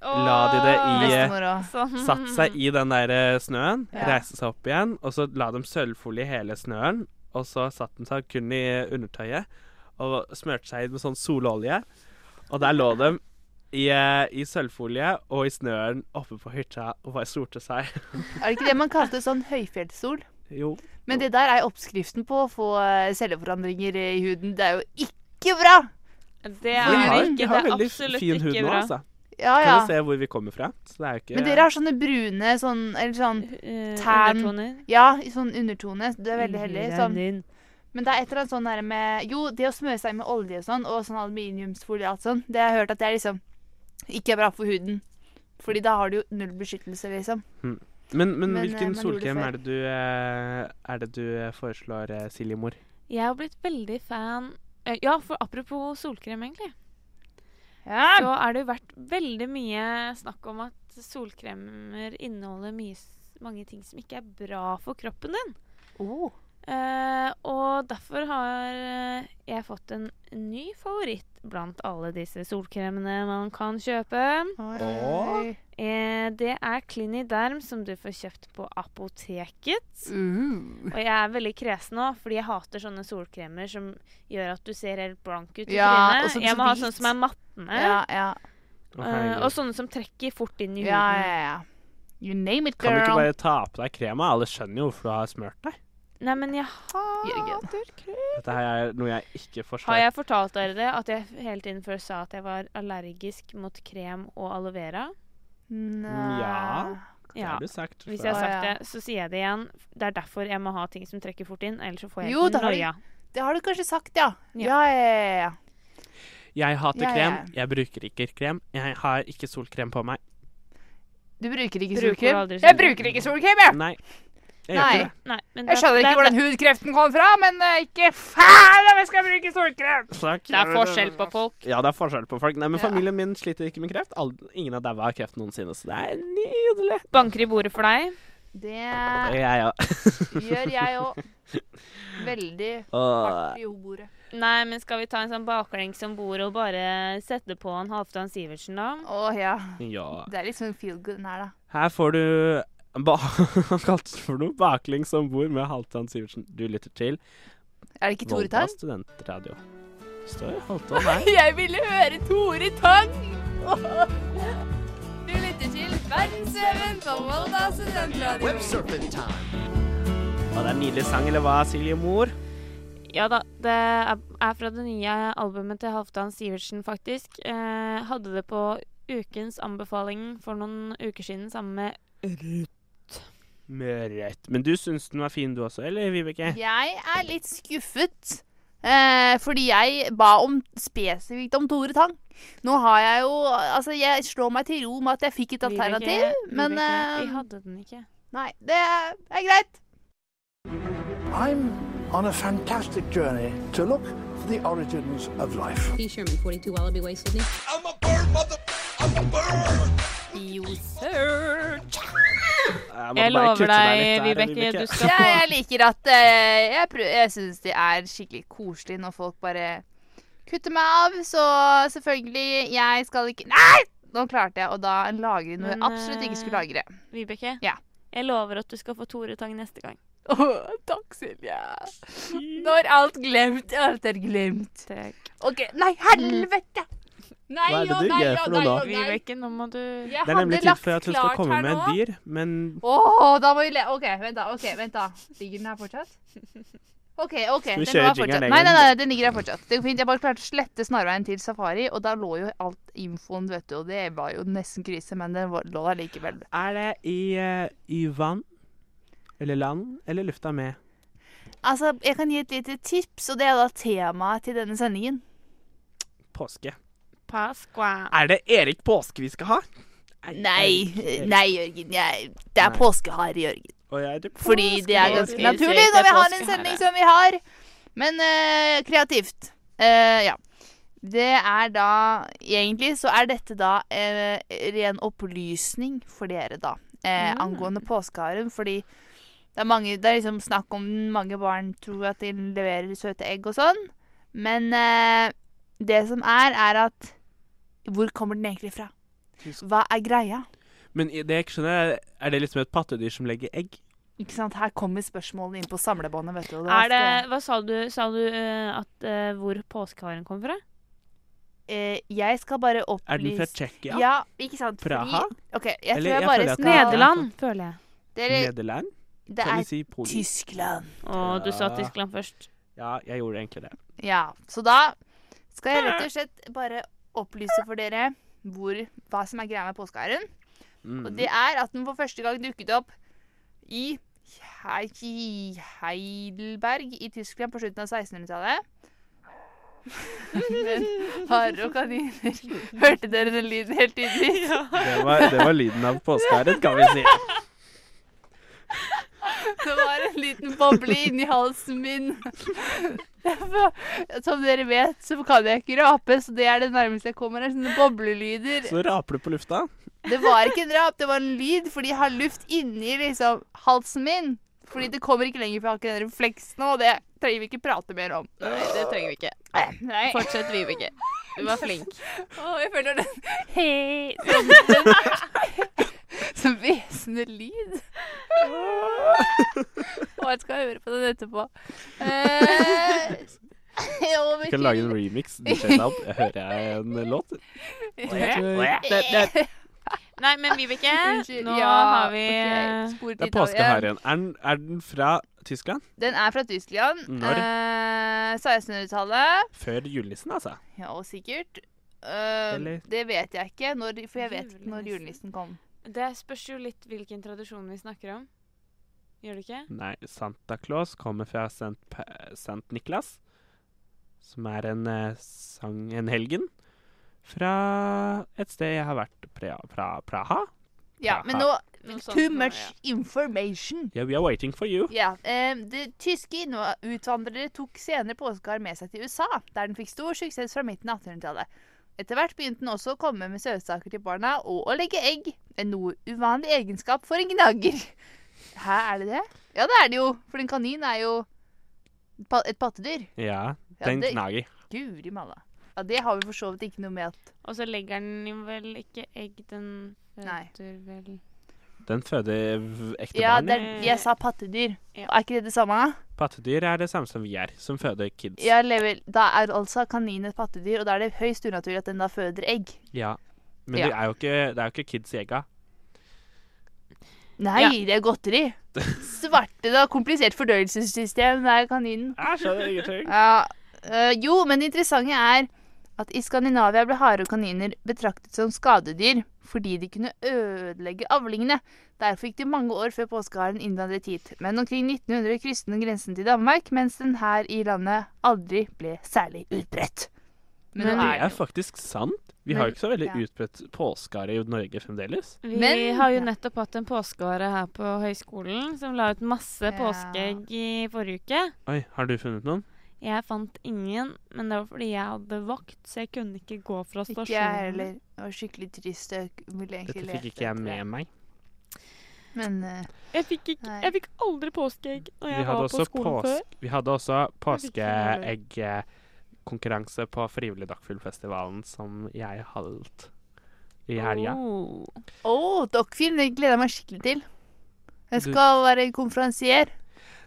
Speaker 4: la de det i eh,
Speaker 5: Bestemor òg.
Speaker 3: Sånn.
Speaker 4: Satt
Speaker 5: [LAUGHS]
Speaker 4: seg i den der eh, snøen,
Speaker 5: Ja.
Speaker 4: reiste seg opp igjen, og så la de sølvfolie i hele snøen. Og så satt den seg kun i undertøyet og smørte seg inn med sånn sololje. Og der lå de i, eh, i sølvfolie og i snøen oppe på hytta og bare solte seg. [LAUGHS]
Speaker 5: Er det ikke det man kalte sånn høyfjellssol?
Speaker 4: Jo.
Speaker 5: Men det der er oppskriften på å få eh, celleforandringer i huden. Det er jo ikke bra!
Speaker 3: Det
Speaker 4: Vi
Speaker 3: er
Speaker 4: har,
Speaker 3: det
Speaker 4: vi
Speaker 3: ikke.
Speaker 4: har
Speaker 3: Det er
Speaker 4: veldig
Speaker 3: absolutt
Speaker 4: fin hud
Speaker 3: ikke
Speaker 4: nå,
Speaker 3: bra.
Speaker 4: altså.
Speaker 5: Ja, ja.
Speaker 4: Kan du se hvor vi kommer fra? Så det er jo ikke
Speaker 5: Men dere har sånne brune sånn, Eller sånn
Speaker 3: Eh,
Speaker 5: Tern.
Speaker 3: undertoner.
Speaker 5: Ja, i sånn undertone. Du er veldig heldig. Sånn. Men det er et eller annet sånn der med Jo, det å smøre seg med olje og sånn, og sånn aluminiumsfoliat sånn, det har jeg hørt at det er liksom ikke er bra for huden. Fordi da har du jo null beskyttelse, liksom.
Speaker 4: Men, men,
Speaker 5: Men, eh,
Speaker 4: hvilken
Speaker 5: man gjorde det
Speaker 4: solkrem
Speaker 5: før.
Speaker 4: er det du, eh, er det du eh, foreslår, eh, Siljemor?
Speaker 3: Jeg har blitt veldig fan eh, Ja, for apropos solkrem, egentlig.
Speaker 5: Ja.
Speaker 3: Så er det jo vært veldig mye snakk om at solkremer inneholder mye, s- mange ting som ikke er bra for kroppen din.
Speaker 5: Oh.
Speaker 3: Eh, og derfor har eh, jeg fått en ny favoritt blant alle disse solkremene man kan kjøpe.
Speaker 5: Oi.
Speaker 3: Eh, det er Cliniderm, som du får kjøpt på apoteket.
Speaker 5: Uh.
Speaker 3: Og jeg er veldig kresen nå, fordi jeg hater sånne solkremer som gjør at du ser helt blank ut i
Speaker 5: Ja, og
Speaker 3: trynet.
Speaker 5: sånn
Speaker 3: jeg
Speaker 5: så
Speaker 3: må ha
Speaker 5: hvit.
Speaker 3: sånne som er mattende,
Speaker 5: Ja, ja.
Speaker 4: Å,
Speaker 3: eh,
Speaker 4: herregud.
Speaker 3: og sånne som trekker fort inn i huden.
Speaker 5: Ja, ja, ja. You name it,
Speaker 4: Kan du ikke
Speaker 5: girl.
Speaker 4: bare ta på deg krema? Alle skjønner jo hvorfor du har smurt deg.
Speaker 3: Nei, men jeg hater
Speaker 5: Jørgen.
Speaker 3: krem.
Speaker 4: Dette her er noe jeg ikke
Speaker 3: Har
Speaker 4: forstår.
Speaker 3: jeg fortalt dere det, at jeg hele tiden før sa at jeg var allergisk mot krem og aloe vera?
Speaker 5: Nei.
Speaker 4: Ja. Det
Speaker 3: Ja.
Speaker 4: har du sagt.
Speaker 3: Hvis
Speaker 4: før.
Speaker 3: jeg har
Speaker 5: Å,
Speaker 3: sagt
Speaker 5: ja.
Speaker 3: det, så sier jeg det igjen. Det er derfor jeg må ha ting som trekker fort inn, ellers så får jeg
Speaker 5: Jo,
Speaker 3: helt
Speaker 5: det har du-
Speaker 3: noia.
Speaker 5: Det har du kanskje sagt, ja.
Speaker 3: Ja.
Speaker 5: Ja, ja, ja. ja.
Speaker 4: Jeg hater
Speaker 5: Ja, ja.
Speaker 4: krem. Jeg bruker ikke krem. Jeg har ikke solkrem på meg.
Speaker 5: Du bruker ikke
Speaker 3: Bruker
Speaker 5: solkrem? Mm.
Speaker 3: aldri
Speaker 5: Jeg
Speaker 3: solkrem.
Speaker 5: bruker ikke solkrem, jeg!
Speaker 4: Nei. Jeg gjør
Speaker 5: Nei.
Speaker 4: ikke det.
Speaker 3: Nei, men
Speaker 5: Jeg
Speaker 3: det-
Speaker 5: skjønner
Speaker 3: det-
Speaker 5: ikke hvor den hudkreften kom fra, men eh, ikke faen om jeg skal bruke solkrem!
Speaker 4: Takk.
Speaker 3: Det er forskjell på folk.
Speaker 4: Ja, det er forskjell på folk. Nei, men
Speaker 5: Ja.
Speaker 4: familien min sliter ikke med kreft. Ald- Ingen har daua av kreft noensinne, så det er nydelig.
Speaker 3: Banker i bordet for deg.
Speaker 4: Og
Speaker 5: Det
Speaker 4: Jeg, ja. [LAUGHS]
Speaker 5: gjør jeg òg. Veldig
Speaker 4: Åh.
Speaker 5: hardt i hobordet.
Speaker 3: Nei, men skal vi ta en sånn baklengs om bord og bare sette på en Halvdan Sivertsen, da?
Speaker 5: Å ja.
Speaker 4: ja.
Speaker 5: Det er litt sånn feel good den her, da.
Speaker 4: Her får du ba [LAUGHS] Han kalte det for noe baklengs om bord med Halvdan Sivertsen. Du lytter til
Speaker 5: Er det ikke Tore
Speaker 4: Volda
Speaker 5: Tang?
Speaker 4: studentradio.
Speaker 5: [LAUGHS]
Speaker 4: Står Halvdan her.
Speaker 5: Jeg ville høre Tore Tang! Du lytter til Verdensveven på Volda studentradio.
Speaker 2: Web surfing time.
Speaker 4: Og det er en nydelig sang, eller hva, Silje Mor?
Speaker 3: Ja da, det er er fra det nye albumet til Halvdan Sivertsen, faktisk. Eh, hadde det på ukens anbefaling for noen uker siden sammen med
Speaker 4: Med rett. Men du syns den var fin, du også, eller, Vibeke?
Speaker 5: Jeg er litt skuffet. Eh, fordi jeg ba om spesifikt om Tore Tang. Nå har jeg jo Altså, jeg slår meg til ro med at jeg fikk et alternativ,
Speaker 3: Vibeke,
Speaker 5: men
Speaker 3: Vibeke, Vi
Speaker 5: eh,
Speaker 3: hadde den ikke.
Speaker 5: Nei, det er er greit.
Speaker 9: I'm on a fantastic journey to look for the origins of life.
Speaker 10: Sherman, 42 Wallaby Way, Sydney.
Speaker 5: Jo, sir.
Speaker 4: Jeg,
Speaker 3: Jeg lover deg, Vibeke, du skal
Speaker 5: Ja,
Speaker 3: få
Speaker 5: jeg liker at eh, Jeg, prø- jeg syns det er skikkelig koselig når folk bare kutter meg av, så selvfølgelig Jeg skal ikke Nei! Nå klarte jeg å da lagre noe jeg
Speaker 3: Men,
Speaker 5: absolutt ikke skulle
Speaker 3: eh,
Speaker 5: lagre.
Speaker 3: Vibeke,
Speaker 5: Ja.
Speaker 3: jeg lover at du skal få Tore Tang neste gang.
Speaker 5: [LAUGHS] Åh, takk, Silje. Nå er alt glemt. Alt er glemt. OK. Nei, helvete! Nei
Speaker 2: Hva er det
Speaker 5: og
Speaker 2: du
Speaker 5: nei
Speaker 2: gjør
Speaker 5: og
Speaker 2: for noe
Speaker 5: nei
Speaker 2: nå?
Speaker 5: og nei.
Speaker 3: Vibeke, nå må du
Speaker 5: Jeg
Speaker 4: Det er nemlig
Speaker 5: hadde lagt
Speaker 4: tid for at hun skal
Speaker 5: klart
Speaker 4: komme
Speaker 5: her
Speaker 4: med
Speaker 5: nå.
Speaker 4: en dyr, men
Speaker 5: Åh, da må vi le... OK, vent da. [LAUGHS] ok, vent da. Ligger den her fortsatt? OK, OK.
Speaker 4: vi
Speaker 5: Den
Speaker 4: kjøre
Speaker 5: var
Speaker 4: jingeren
Speaker 5: fortsatt.
Speaker 4: en
Speaker 5: Nei, nei,
Speaker 4: gang?
Speaker 5: nei, den ligger her fortsatt. Det går fint. Jeg bare klarte å slette snarveien til Safari, og da lå jo alt infoen, vet du. Og det var jo nesten krise, men den var- lå der likevel.
Speaker 4: er det i, eh, i vann eller land eller lufta med?
Speaker 5: Altså, jeg kan gi et lite tips, og det er da temaet til denne sendingen.
Speaker 4: Påske.
Speaker 3: Pasqua.
Speaker 4: Er det Erik Påske vi skal ha?
Speaker 5: Nei,
Speaker 4: Erik.
Speaker 5: nei, Jørgen. Jeg, det er
Speaker 4: Nei.
Speaker 5: påskehare, Jørgen.
Speaker 4: Og jeg er det
Speaker 5: Fordi det er
Speaker 3: Påskehare.
Speaker 5: ganske naturlig når vi har en sending som vi har. Men eh, kreativt. Eh, ja. Det er da Egentlig så er dette da eh, ren opplysning for dere, da. eh,
Speaker 3: Mm.
Speaker 5: Angående påskeharen. Fordi det er, mange, det er liksom snakk om mange barn tror at de leverer søte egg og sånn. Men eh, det som er, er at Hvor kommer den egentlig fra? Hva er greia?
Speaker 4: Men i- det jeg ikke skjønner, er- er det liksom et pattedyr som legger egg?
Speaker 5: Ikke sant? Her kommer spørsmålene inn på samlebåndet. vet du. og
Speaker 3: Er det,
Speaker 5: skal-
Speaker 3: hva sa du, sa du eh, at, eh, hvor påskeharen kom fra?
Speaker 5: eh, Jeg skal bare opplyse
Speaker 4: Er den fra Tsjekkia?
Speaker 5: Ja, ikke sant?
Speaker 4: Praha?
Speaker 5: OK, jeg
Speaker 4: Eller
Speaker 5: tror jeg,
Speaker 4: jeg føler
Speaker 5: bare
Speaker 4: at det
Speaker 5: skal
Speaker 4: er-
Speaker 3: Nederland, føler jeg.
Speaker 5: Dere,
Speaker 4: Nederland?
Speaker 5: det
Speaker 4: Kan vi
Speaker 5: er
Speaker 4: si Polen?
Speaker 5: Tyskland.
Speaker 3: Å, du sa
Speaker 4: Ja.
Speaker 3: Tyskland først.
Speaker 4: Ja, jeg gjorde egentlig det.
Speaker 5: Ja, så da skal jeg rett og slett bare opplyse for dere hvor, hva som er greia med påskeharen. Og
Speaker 4: Mm.
Speaker 5: det er at den for første gang dukket opp i Hei- Heidelberg i Tyskland på slutten av 1600-tallet. Men harer og kaniner Hørte dere den lyden helt tydelig?
Speaker 4: Det, var, det var lyden av påskeharen, kan vi si.
Speaker 5: Det var en liten boble inni halsen min. Som dere vet, så kan jeg ikke rape, så det er det nærmeste jeg kommer. er Sånne boblelyder.
Speaker 4: Så raper du på lufta.
Speaker 5: Det var ikke en rap, det var en lyd, fordi jeg har luft inni liksom, halsen min. Fordi det kommer ikke lenger fra akkurat den refleksen, og det trenger vi ikke prate mer om.
Speaker 11: Nei, det trenger vi ikke.
Speaker 5: Nei.
Speaker 11: Fortsett, Vibeke. Du var flink.
Speaker 5: Å, jeg føler den
Speaker 3: [LAUGHS] Hei!
Speaker 5: som hvesende lyd. Og jeg skal høre på den etterpå. Eh, [LAUGHS] over
Speaker 4: Vi kan lage en
Speaker 5: til- [LAUGHS]
Speaker 4: remix. Du ser opp. Jeg hører jeg en låt? Det, det,
Speaker 3: Nei, men Vibeke,
Speaker 5: Unnskyld,
Speaker 3: nå
Speaker 5: ja,
Speaker 3: har vi
Speaker 5: ok,
Speaker 3: eh,
Speaker 5: spor til
Speaker 4: det er
Speaker 5: Italia.
Speaker 4: påskeharen. Er, den- er den fra Tyskland?
Speaker 5: Den er fra Tyskland.
Speaker 4: Når?
Speaker 5: Eh, 1600-tallet.
Speaker 4: Før julenissen, altså?
Speaker 5: Ja, og sikkert. Eh,
Speaker 4: Eller-
Speaker 5: det vet jeg ikke, når, for jeg vet ikke når
Speaker 3: Julenissen.
Speaker 5: julenissen kom.
Speaker 3: Det spørs jo litt hvilken tradisjon vi snakker om. Gjør det ikke?
Speaker 4: Nei, Santa Claus kommer fra Sankt, Pa- Sankt Niklas, som er en eh, sang, en helgen, fra et sted jeg har vært, fra, fra Praha.
Speaker 5: Ja, men
Speaker 4: Aha.
Speaker 5: nå
Speaker 3: Noe sånt
Speaker 5: Too
Speaker 3: nå,
Speaker 5: much information.
Speaker 4: Yeah, we are waiting for you.
Speaker 5: Ja, eh, det Tyske innva- utvandrere tok senere påskeharen med seg til USA, der den fikk stor suksess fra midten av 1800-tallet. Etter hvert begynte den også å komme med søtsaker til barna og å legge egg, en noe uvanlig egenskap for en gnager. Hæ, er det det? Ja, det er det jo, for en kanin er jo pa- et pattedyr.
Speaker 4: Ja,
Speaker 5: Ja,
Speaker 4: den
Speaker 5: det-
Speaker 4: knager.
Speaker 5: Guri malla. Ja, det har vi for så vidt ikke noe med at
Speaker 3: Og så legger den jo vel ikke egg, den
Speaker 5: Nei.
Speaker 3: føder vel
Speaker 4: Den føder v- ekte
Speaker 5: Ja,
Speaker 4: barn.
Speaker 5: det
Speaker 4: ja.
Speaker 5: er, jeg sa pattedyr.
Speaker 3: Ja.
Speaker 5: Er ikke det det samme?
Speaker 4: Pattedyr er det samme som vi er, som føder kids.
Speaker 5: Jeg lever, da er altså kanin et pattedyr, og da er det høyst unaturlig at den da føder egg.
Speaker 4: Ja. Men
Speaker 5: Ja.
Speaker 4: Det, er jo ikke, det er jo ikke kids i egga.
Speaker 5: Nei, det er godteri. Svarte, da. Komplisert fordøyelsessystem. Det er kaninen. [LAUGHS]
Speaker 4: Jeg skjønner
Speaker 5: eh,
Speaker 4: ingenting.
Speaker 5: Ja, øh, jo, men det interessante er at i Skandinavia ble harer og kaniner betraktet som skadedyr fordi de kunne ødelegge avlingene. Derfor gikk det mange år før påskeharen innvandret hit. Men omkring 1900 krysset den grensen til Danmark, mens den her i landet aldri ble særlig utbredt.
Speaker 4: Men
Speaker 5: nå
Speaker 4: det
Speaker 5: er
Speaker 4: er faktisk sant. Vi har jo ikke så veldig utbredt påskehare i Norge fremdeles.
Speaker 3: Vi har jo nettopp hatt en påskehare her på høyskolen som la ut masse påskeegg i forrige uke.
Speaker 4: Oi, har du funnet noen?
Speaker 3: Jeg fant ingen, men det var fordi jeg hadde vakt, så jeg kunne ikke gå fra
Speaker 5: Ikke
Speaker 3: stasjonen.
Speaker 5: jeg heller. Det var skikkelig trist. Jeg ville egentlig
Speaker 4: Dette
Speaker 5: lete
Speaker 4: fikk ikke jeg
Speaker 5: etter det.
Speaker 4: med meg.
Speaker 5: Men eh,
Speaker 3: Jeg fikk, ikke, jeg fikk aldri påskeegg når
Speaker 4: Vi
Speaker 3: jeg
Speaker 4: hadde
Speaker 3: var på
Speaker 4: også,
Speaker 3: skolen før.
Speaker 4: pås vi hadde også
Speaker 3: Jeg fikk ikke
Speaker 4: påskeeggkonkurranse på Frivillig Dagfyllfestivalen som jeg holdt i helga.
Speaker 3: Oh.
Speaker 5: Å, dokkfilm! Det gleder jeg meg skikkelig til. Jeg
Speaker 4: Du-
Speaker 5: skal være konferansier.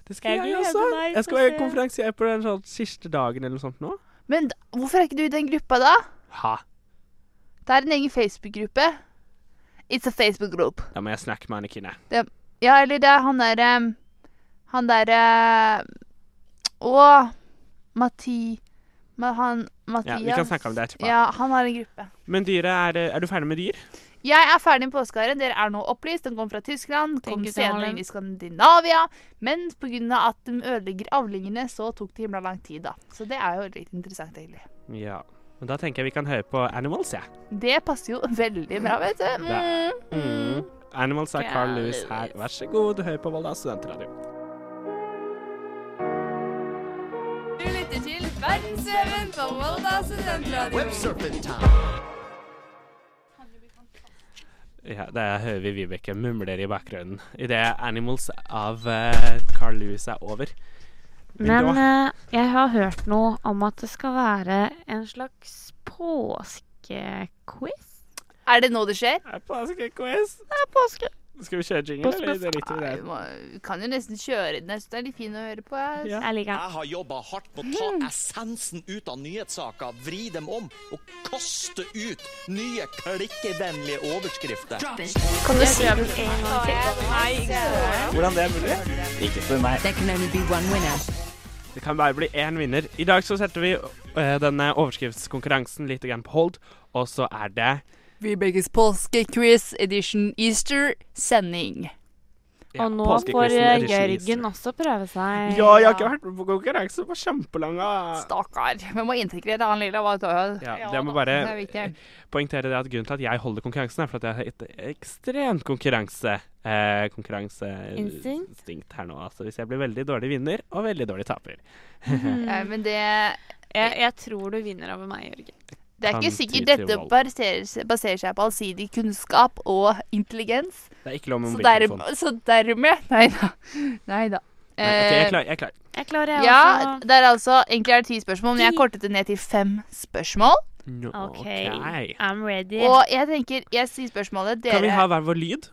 Speaker 4: Det skal jeg også. Jeg skal være konferansier på den sånn siste dagen eller noe sånt nå.
Speaker 5: Men d- hvorfor er ikke du i den gruppa, da?
Speaker 4: Ha!
Speaker 5: Det er en egen Facebook-gruppe. It's a Facebook-group.
Speaker 4: Da må jeg snakke med Annikine.
Speaker 5: Det- Ja, eller det er han derre Han derre Å! Mati... Ma, han
Speaker 4: Ja,
Speaker 5: Mathias.
Speaker 4: vi kan snakke om det etterpå.
Speaker 5: Ja, han har en gruppe.
Speaker 4: Men dyret, er, er du ferdig med dyr?
Speaker 5: Jeg er ferdig med påskeharen. Dere er nå opplyst. Den kom fra Tyskland, kom
Speaker 3: Tenk, det har
Speaker 5: senere
Speaker 3: den.
Speaker 5: inn i Skandinavia. Men pga. at de ødelegger avlingene, så tok det himla lang tid, da. Så det er jo litt interessant, egentlig.
Speaker 4: Ja. Men da tenker jeg vi kan høre på Animals, jeg.
Speaker 5: Det passer jo [LAUGHS] veldig bra, vet du.
Speaker 4: Det er-
Speaker 5: Mm.
Speaker 4: Mm. Animals er Carl Lewis her. Vær så god, du hører på Volda studentradio.
Speaker 6: Du lytter til Verdensveven på Volda studentradio.
Speaker 2: Websurfing time.
Speaker 4: Ja, Der hører vi Vibeke mumler i bakgrunnen idet Animals av eh, Carl Lewis er over. Men
Speaker 3: Men
Speaker 4: da-
Speaker 3: eh, jeg har hørt noe om at det skal være en slags påskequiz.
Speaker 5: Er det nå det skjer?
Speaker 4: Er påskequiz.
Speaker 3: Det er påske.
Speaker 4: Skal vi kjøre jingle, eller
Speaker 5: Post-
Speaker 4: driter vi i
Speaker 5: Nei,
Speaker 4: det?
Speaker 5: vi må- vi kan jo nesten kjøre den. Jeg synes den er litt fin å høre på. Jeg,
Speaker 3: Jeg liker den.
Speaker 12: Jeg har jobba hardt på å ta essensen ut av nyhetssaker, vri dem om og kaste ut nye klikkevennlige overskrifter.
Speaker 6: Kan du si det en gang til? Nei,
Speaker 4: Hvordan det er mulig? Ikke for meg.
Speaker 6: There can only be one winner.
Speaker 4: Det kan bare bli én vinner. I dag så setter vi eh, denne overskriftskonkurransen litt grann på hold, og så er det
Speaker 5: Vibekes påskequiz edition Easter-sending.
Speaker 4: Ja,
Speaker 3: Og nå får
Speaker 4: påskequizen
Speaker 3: eh,
Speaker 4: edition
Speaker 3: Jørgen også prøve seg.
Speaker 4: Ja, jeg har ikke vært med på konkurranse på ah. kjempelange
Speaker 5: Stakkar. Vi må integrere han lille. Hva tar jeg?
Speaker 4: Ja, jeg må
Speaker 5: da,
Speaker 4: bare
Speaker 5: det er viktig.
Speaker 4: poengtere det at grunnen til at jeg holder konkurransen, er for at jeg har et ekstremt konkurranse... Eh,
Speaker 5: Instinkt?
Speaker 4: konkurranseinstinkt her nå. Altså, hvis jeg blir veldig dårlig vinner og veldig dårlig taper. Mm.
Speaker 5: Ja, Eh, men det
Speaker 3: jeg, jeg tror du vinner over meg, Jørgen.
Speaker 5: Det er ikke
Speaker 4: Kan ty
Speaker 5: sikkert
Speaker 4: til
Speaker 5: dette
Speaker 4: vold.
Speaker 5: baserer, seg- baserer seg på allsidig kunnskap og intelligens.
Speaker 4: Det er ikke lov med
Speaker 5: Så, der,
Speaker 4: mobiltelefon.
Speaker 5: så dermed [LAUGHS] Nei da. Nei da.
Speaker 4: sånn.
Speaker 5: Eh,
Speaker 4: Nei, ok, jeg er klar. Jeg er klar.
Speaker 3: Jeg klarer, jeg
Speaker 5: Ja,
Speaker 3: også.
Speaker 5: det er altså, egentlig er det ti spørsmål, men jeg kortet det ned til fem spørsmål.
Speaker 4: Nå, ok.
Speaker 3: OK. I'm ready.
Speaker 5: Og jeg tenker, jeg sier spørsmålet dere,
Speaker 4: Kan vi ha hver vår lyd?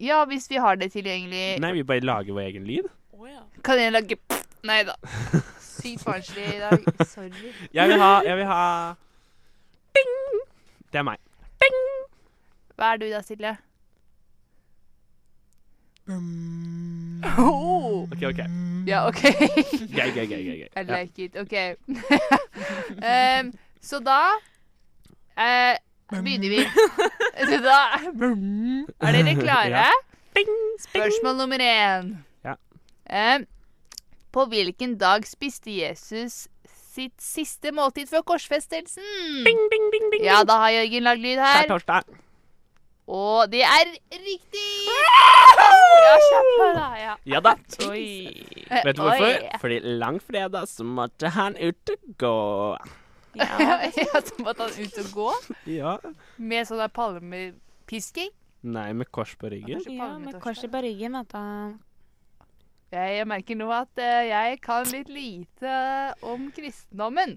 Speaker 5: Ja, hvis vi har det tilgjengelig.
Speaker 4: Nei, vi bare lager vår egen lyd.
Speaker 5: Kan jeg lage Nei da. Sykt barnslig i dag. Sorry.
Speaker 4: Jeg
Speaker 5: [LAUGHS]
Speaker 4: vil ha, jeg vil ha Det er meg.
Speaker 5: Hva er du da, Silje? Oh.
Speaker 4: OK, OK.
Speaker 5: Ja, OK.
Speaker 4: Gøy, gøy, gøy. gøy, gøy.
Speaker 5: I
Speaker 4: Ja.
Speaker 5: like it. OK. [LAUGHS] Em, så da eh, begynner vi. [LAUGHS] Så da Er
Speaker 4: [LAUGHS]
Speaker 5: dere klare?
Speaker 4: Ja.
Speaker 5: Spørsmål nummer én.
Speaker 4: Ja.
Speaker 5: Em, på hvilken dag spiste Jesus sitt siste måltid før korsfestelsen? Ja, da har Jørgen lagd lyd
Speaker 4: Skjær
Speaker 5: her.
Speaker 4: torsdag.
Speaker 5: Og det er riktig! Ja, kjapp her, da. Ja.
Speaker 4: Ja da.
Speaker 5: Eh,
Speaker 4: Vet du hvorfor?
Speaker 5: oi.
Speaker 4: Fordi langfredag så måtte han ut og gå.
Speaker 5: [LAUGHS] Ja, så måtte han ut og gå
Speaker 4: Ja.
Speaker 5: med sånn der palmepisking.
Speaker 4: Nei, med kors på ryggen.
Speaker 3: Ja, med korset på ryggen, vet du.
Speaker 5: Jeg, jeg merker nå at eh, jeg kan litt lite om kristendommen.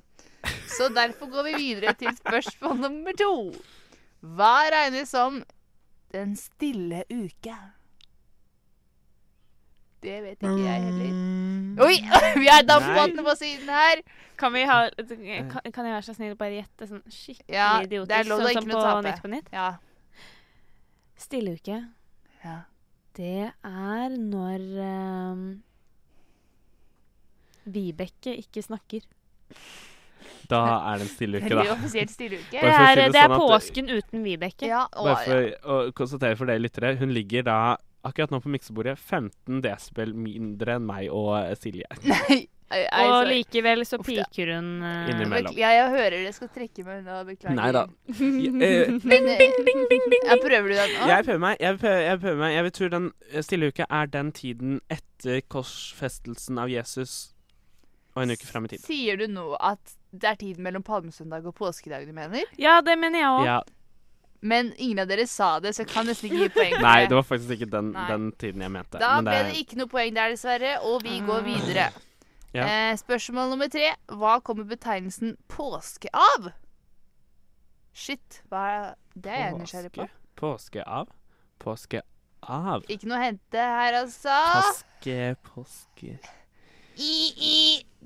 Speaker 5: Så derfor går vi videre til spørsmål nummer to. Hva regnes som den stille uke? Det vet ikke jeg heller. Oi, [LAUGHS] vi har dampbåtene på siden her.
Speaker 3: Kan, vi ha, kan, kan jeg være så snill å bare gjette sånn skikkelig
Speaker 5: Eh. Ja, det
Speaker 3: idiotisk?
Speaker 5: er lov å
Speaker 3: sånn
Speaker 5: ikke
Speaker 3: som
Speaker 5: noe
Speaker 3: på
Speaker 5: tape.
Speaker 3: Nytt på Nytt?
Speaker 5: Ja.
Speaker 3: Stilleuke.
Speaker 5: Ja.
Speaker 3: Det er når ehm, Vibeke ikke snakker.
Speaker 4: Da er det en stille uke,
Speaker 5: Det
Speaker 4: da.
Speaker 5: blir offisielt stille uke.
Speaker 4: Bare for å si
Speaker 3: Det er, det
Speaker 4: sånn
Speaker 3: er
Speaker 4: at-
Speaker 3: påsken uten Vibeke.
Speaker 5: Ja, [LAUGHS]
Speaker 4: Bare for å konstatere for dere lyttere, hun ligger da akkurat nå på miksebordet 15 desibel mindre enn meg og Silje.
Speaker 3: Og
Speaker 5: altså,
Speaker 3: likevel så piker hun eh,
Speaker 4: Innimellom.
Speaker 5: Ja, jeg hører det. Jeg skal trekke meg unna. Beklager.
Speaker 4: Nei da.
Speaker 5: [LAUGHS]
Speaker 4: eh,
Speaker 5: bing, bing, bing, bing, bing. eh, Ja, prøver du den nå?
Speaker 4: Jeg prøver meg. Jeg, prøver, jeg, prøver meg. jeg vil tro den eh, stille uke er den tiden etter korsfestelsen av Jesus og en uke fram i tid.
Speaker 5: Sier du nå at det er tiden mellom palmesøndag og påskedag du mener?
Speaker 3: Ja, det mener jeg
Speaker 4: Ja.
Speaker 5: Men ingen av dere sa det, så jeg kan nesten ikke gi poeng. for
Speaker 4: Nei, det var faktisk ikke den,
Speaker 5: Nei.
Speaker 4: den tiden jeg mente.
Speaker 5: Da
Speaker 4: men
Speaker 5: ble
Speaker 4: er-
Speaker 5: det ikke noe poeng der, dessverre, og vi går videre.
Speaker 4: Ja.
Speaker 5: Eh, spørsmål nummer tre. Hva kommer betegnelsen påske av? Shit, hva er det er jeg nysgjerrig på.
Speaker 4: Påske. Påske av. Påske av.
Speaker 5: Ikke noe å hente her, altså.
Speaker 4: Påske, påske
Speaker 5: I, i.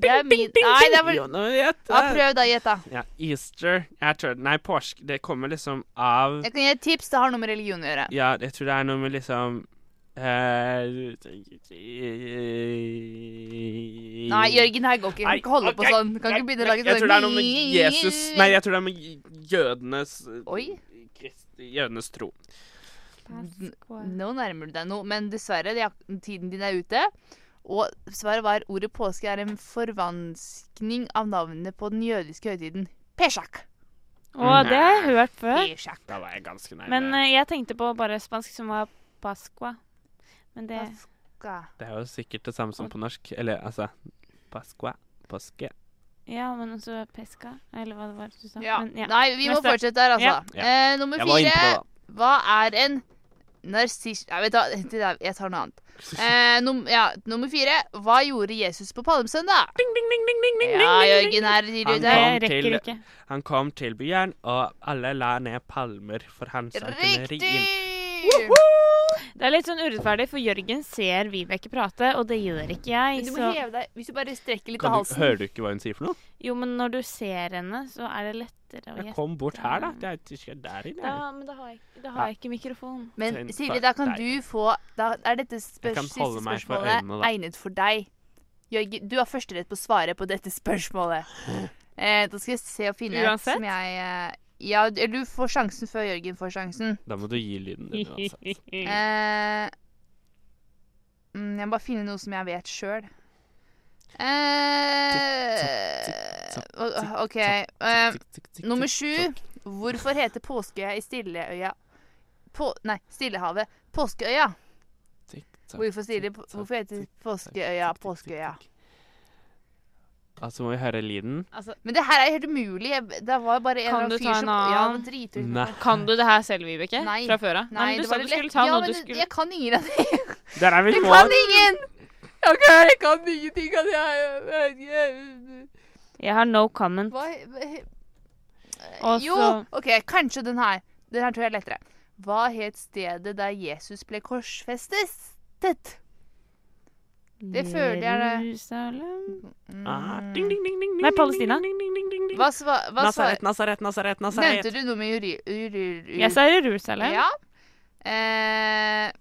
Speaker 5: Det er min Nei, det er
Speaker 4: Jo,
Speaker 5: vel
Speaker 4: nå vet
Speaker 5: ja,
Speaker 4: jeg.
Speaker 5: Prøv, da. Gjett, da.
Speaker 4: Ja, Easter jeg tror, Nei, påske. Det kommer liksom av
Speaker 5: Jeg kan gi et tips. Det har noe med religion å gjøre.
Speaker 4: Ja, jeg tror det er noe med liksom eh,
Speaker 5: Nei, Jørgen, her går ikke. Du kan
Speaker 4: Nei,
Speaker 5: ikke holde på
Speaker 4: ok.
Speaker 5: sånn. Du kan ikke begynne å lage
Speaker 4: Jeg
Speaker 5: sånne-
Speaker 4: tror det er noe med Jesus Nei, jeg tror det er med jødenes
Speaker 5: Oi.
Speaker 4: Kristi, Jødenes tro.
Speaker 5: Nå nærmer du deg noe, men dessverre, det er- tiden din er ute. Og svaret var ordet påske er en forvanskning av navnet på den jødiske høytiden Pesjak.
Speaker 3: Å, det har
Speaker 5: Mm.
Speaker 3: jeg hørt før.
Speaker 4: Da var jeg ganske nærme.
Speaker 3: Men eh, jeg tenkte på bare spansk som var pascua. Men det
Speaker 4: det er jo sikkert det samme som på norsk. Eller altså Pasqua. Påske.
Speaker 3: Ja, men også pesca. Eller hva det var du sa.
Speaker 5: Ja.
Speaker 3: Men,
Speaker 5: Nei, vi må
Speaker 3: Neste.
Speaker 5: fortsette der,
Speaker 3: Ja.
Speaker 5: altså.
Speaker 4: Ja.
Speaker 5: Eh, nummer
Speaker 4: Jeg var inne på
Speaker 5: fire. Hva er en narsist... Nei, vet du hva, [LAUGHS] det der- jeg tar noe annet. Eh, num ja, nummer fire. Hva gjorde Jesus på palmesøndag? Ja, Jørgen her. tidligere
Speaker 4: Han
Speaker 5: i dag.
Speaker 4: kom, til, han kom til byen, og alle la ned palmer for han som kunne ri inn.
Speaker 3: Det er litt sånn urettferdig, for Jørgen ser Vibeke prate, og det gjør ikke jeg.
Speaker 5: Du må
Speaker 3: Så...
Speaker 5: heve deg, hvis du bare strekker litt av
Speaker 4: Kan du,
Speaker 5: halsen.
Speaker 4: hører du ikke hva hun sier for noe?
Speaker 3: Jo, men når du ser henne, så er det lettere å
Speaker 4: Jeg
Speaker 3: gjette.
Speaker 4: kom bort her, da. Det er ikke der inne.
Speaker 3: Da, men da har jeg, da har jeg ikke mikrofon. [LAUGHS]
Speaker 5: Men
Speaker 4: Tenn
Speaker 5: Silje,
Speaker 4: for
Speaker 5: da kan
Speaker 4: deg.
Speaker 5: du få Da er dette spør
Speaker 4: Jeg kan
Speaker 5: siste
Speaker 4: holde meg for
Speaker 5: spørsmålet
Speaker 4: øynene, da.
Speaker 5: egnet for deg. Jørgen, du har førsterett på å svare på dette
Speaker 4: [GASPS]
Speaker 5: spørsmålet. Eh, da skal jeg se og finne et
Speaker 3: Uansett?
Speaker 5: som jeg eh, Ja, du- du får sjansen før Jørgen får sjansen.
Speaker 4: Da må du gi lyden din uansett.
Speaker 5: Eh, mm, jeg må bare finne noe som jeg vet sjøl. Eh, o- OK. Eh, nummer sju. Hvorfor heter Påskeøya i Stilleøya på, Nei, Stillehavet Påskeøya? Hvorfor, stille, hvorfor heter Påskeøya Påskeøya?
Speaker 4: Altså, må vi høre lyden.
Speaker 5: Men det her er helt umulig. Jeg- Det var bare en
Speaker 3: Kan
Speaker 5: eller annen
Speaker 3: du ta
Speaker 5: fyr
Speaker 3: en
Speaker 5: som
Speaker 3: annen?
Speaker 5: Ja, det driter ut.
Speaker 4: Nei.
Speaker 3: Kan du det her selv, Vibeke?
Speaker 5: Nei.
Speaker 3: Fra før av?
Speaker 5: Nei,
Speaker 3: men du
Speaker 5: det
Speaker 3: sa
Speaker 5: var
Speaker 3: du
Speaker 5: lett.
Speaker 3: skulle ta
Speaker 5: ja,
Speaker 3: noe
Speaker 5: men
Speaker 3: du skulle
Speaker 5: Jeg kan ingen av dem.
Speaker 4: Der er vi
Speaker 5: Jeg
Speaker 4: på!
Speaker 5: kan
Speaker 3: [LAUGHS]
Speaker 5: ingen! Ok, jeg kan [LAUGHS] ingenting av det her. Jeg vet ikke.
Speaker 3: Jeg har no comment.
Speaker 5: Hva he-
Speaker 3: Og
Speaker 5: Jo,
Speaker 3: så-
Speaker 5: OK, kanskje den her. Den her tror jeg er lettere. Hva het stedet der Jesus ble korsfestet? Det føler jeg det.
Speaker 3: Jerusalem
Speaker 4: Ah, ding, ding, ding, ding,
Speaker 3: Nei,
Speaker 4: ding,
Speaker 3: Palestina.
Speaker 5: Hva, sva, hva svar...
Speaker 4: Nasaret, Nasaret, Nasaret, Nasaret.
Speaker 5: Nevnte du noe med juri... juri- juri-
Speaker 3: Jeg sa Jerusalem.
Speaker 5: Ja. Eh,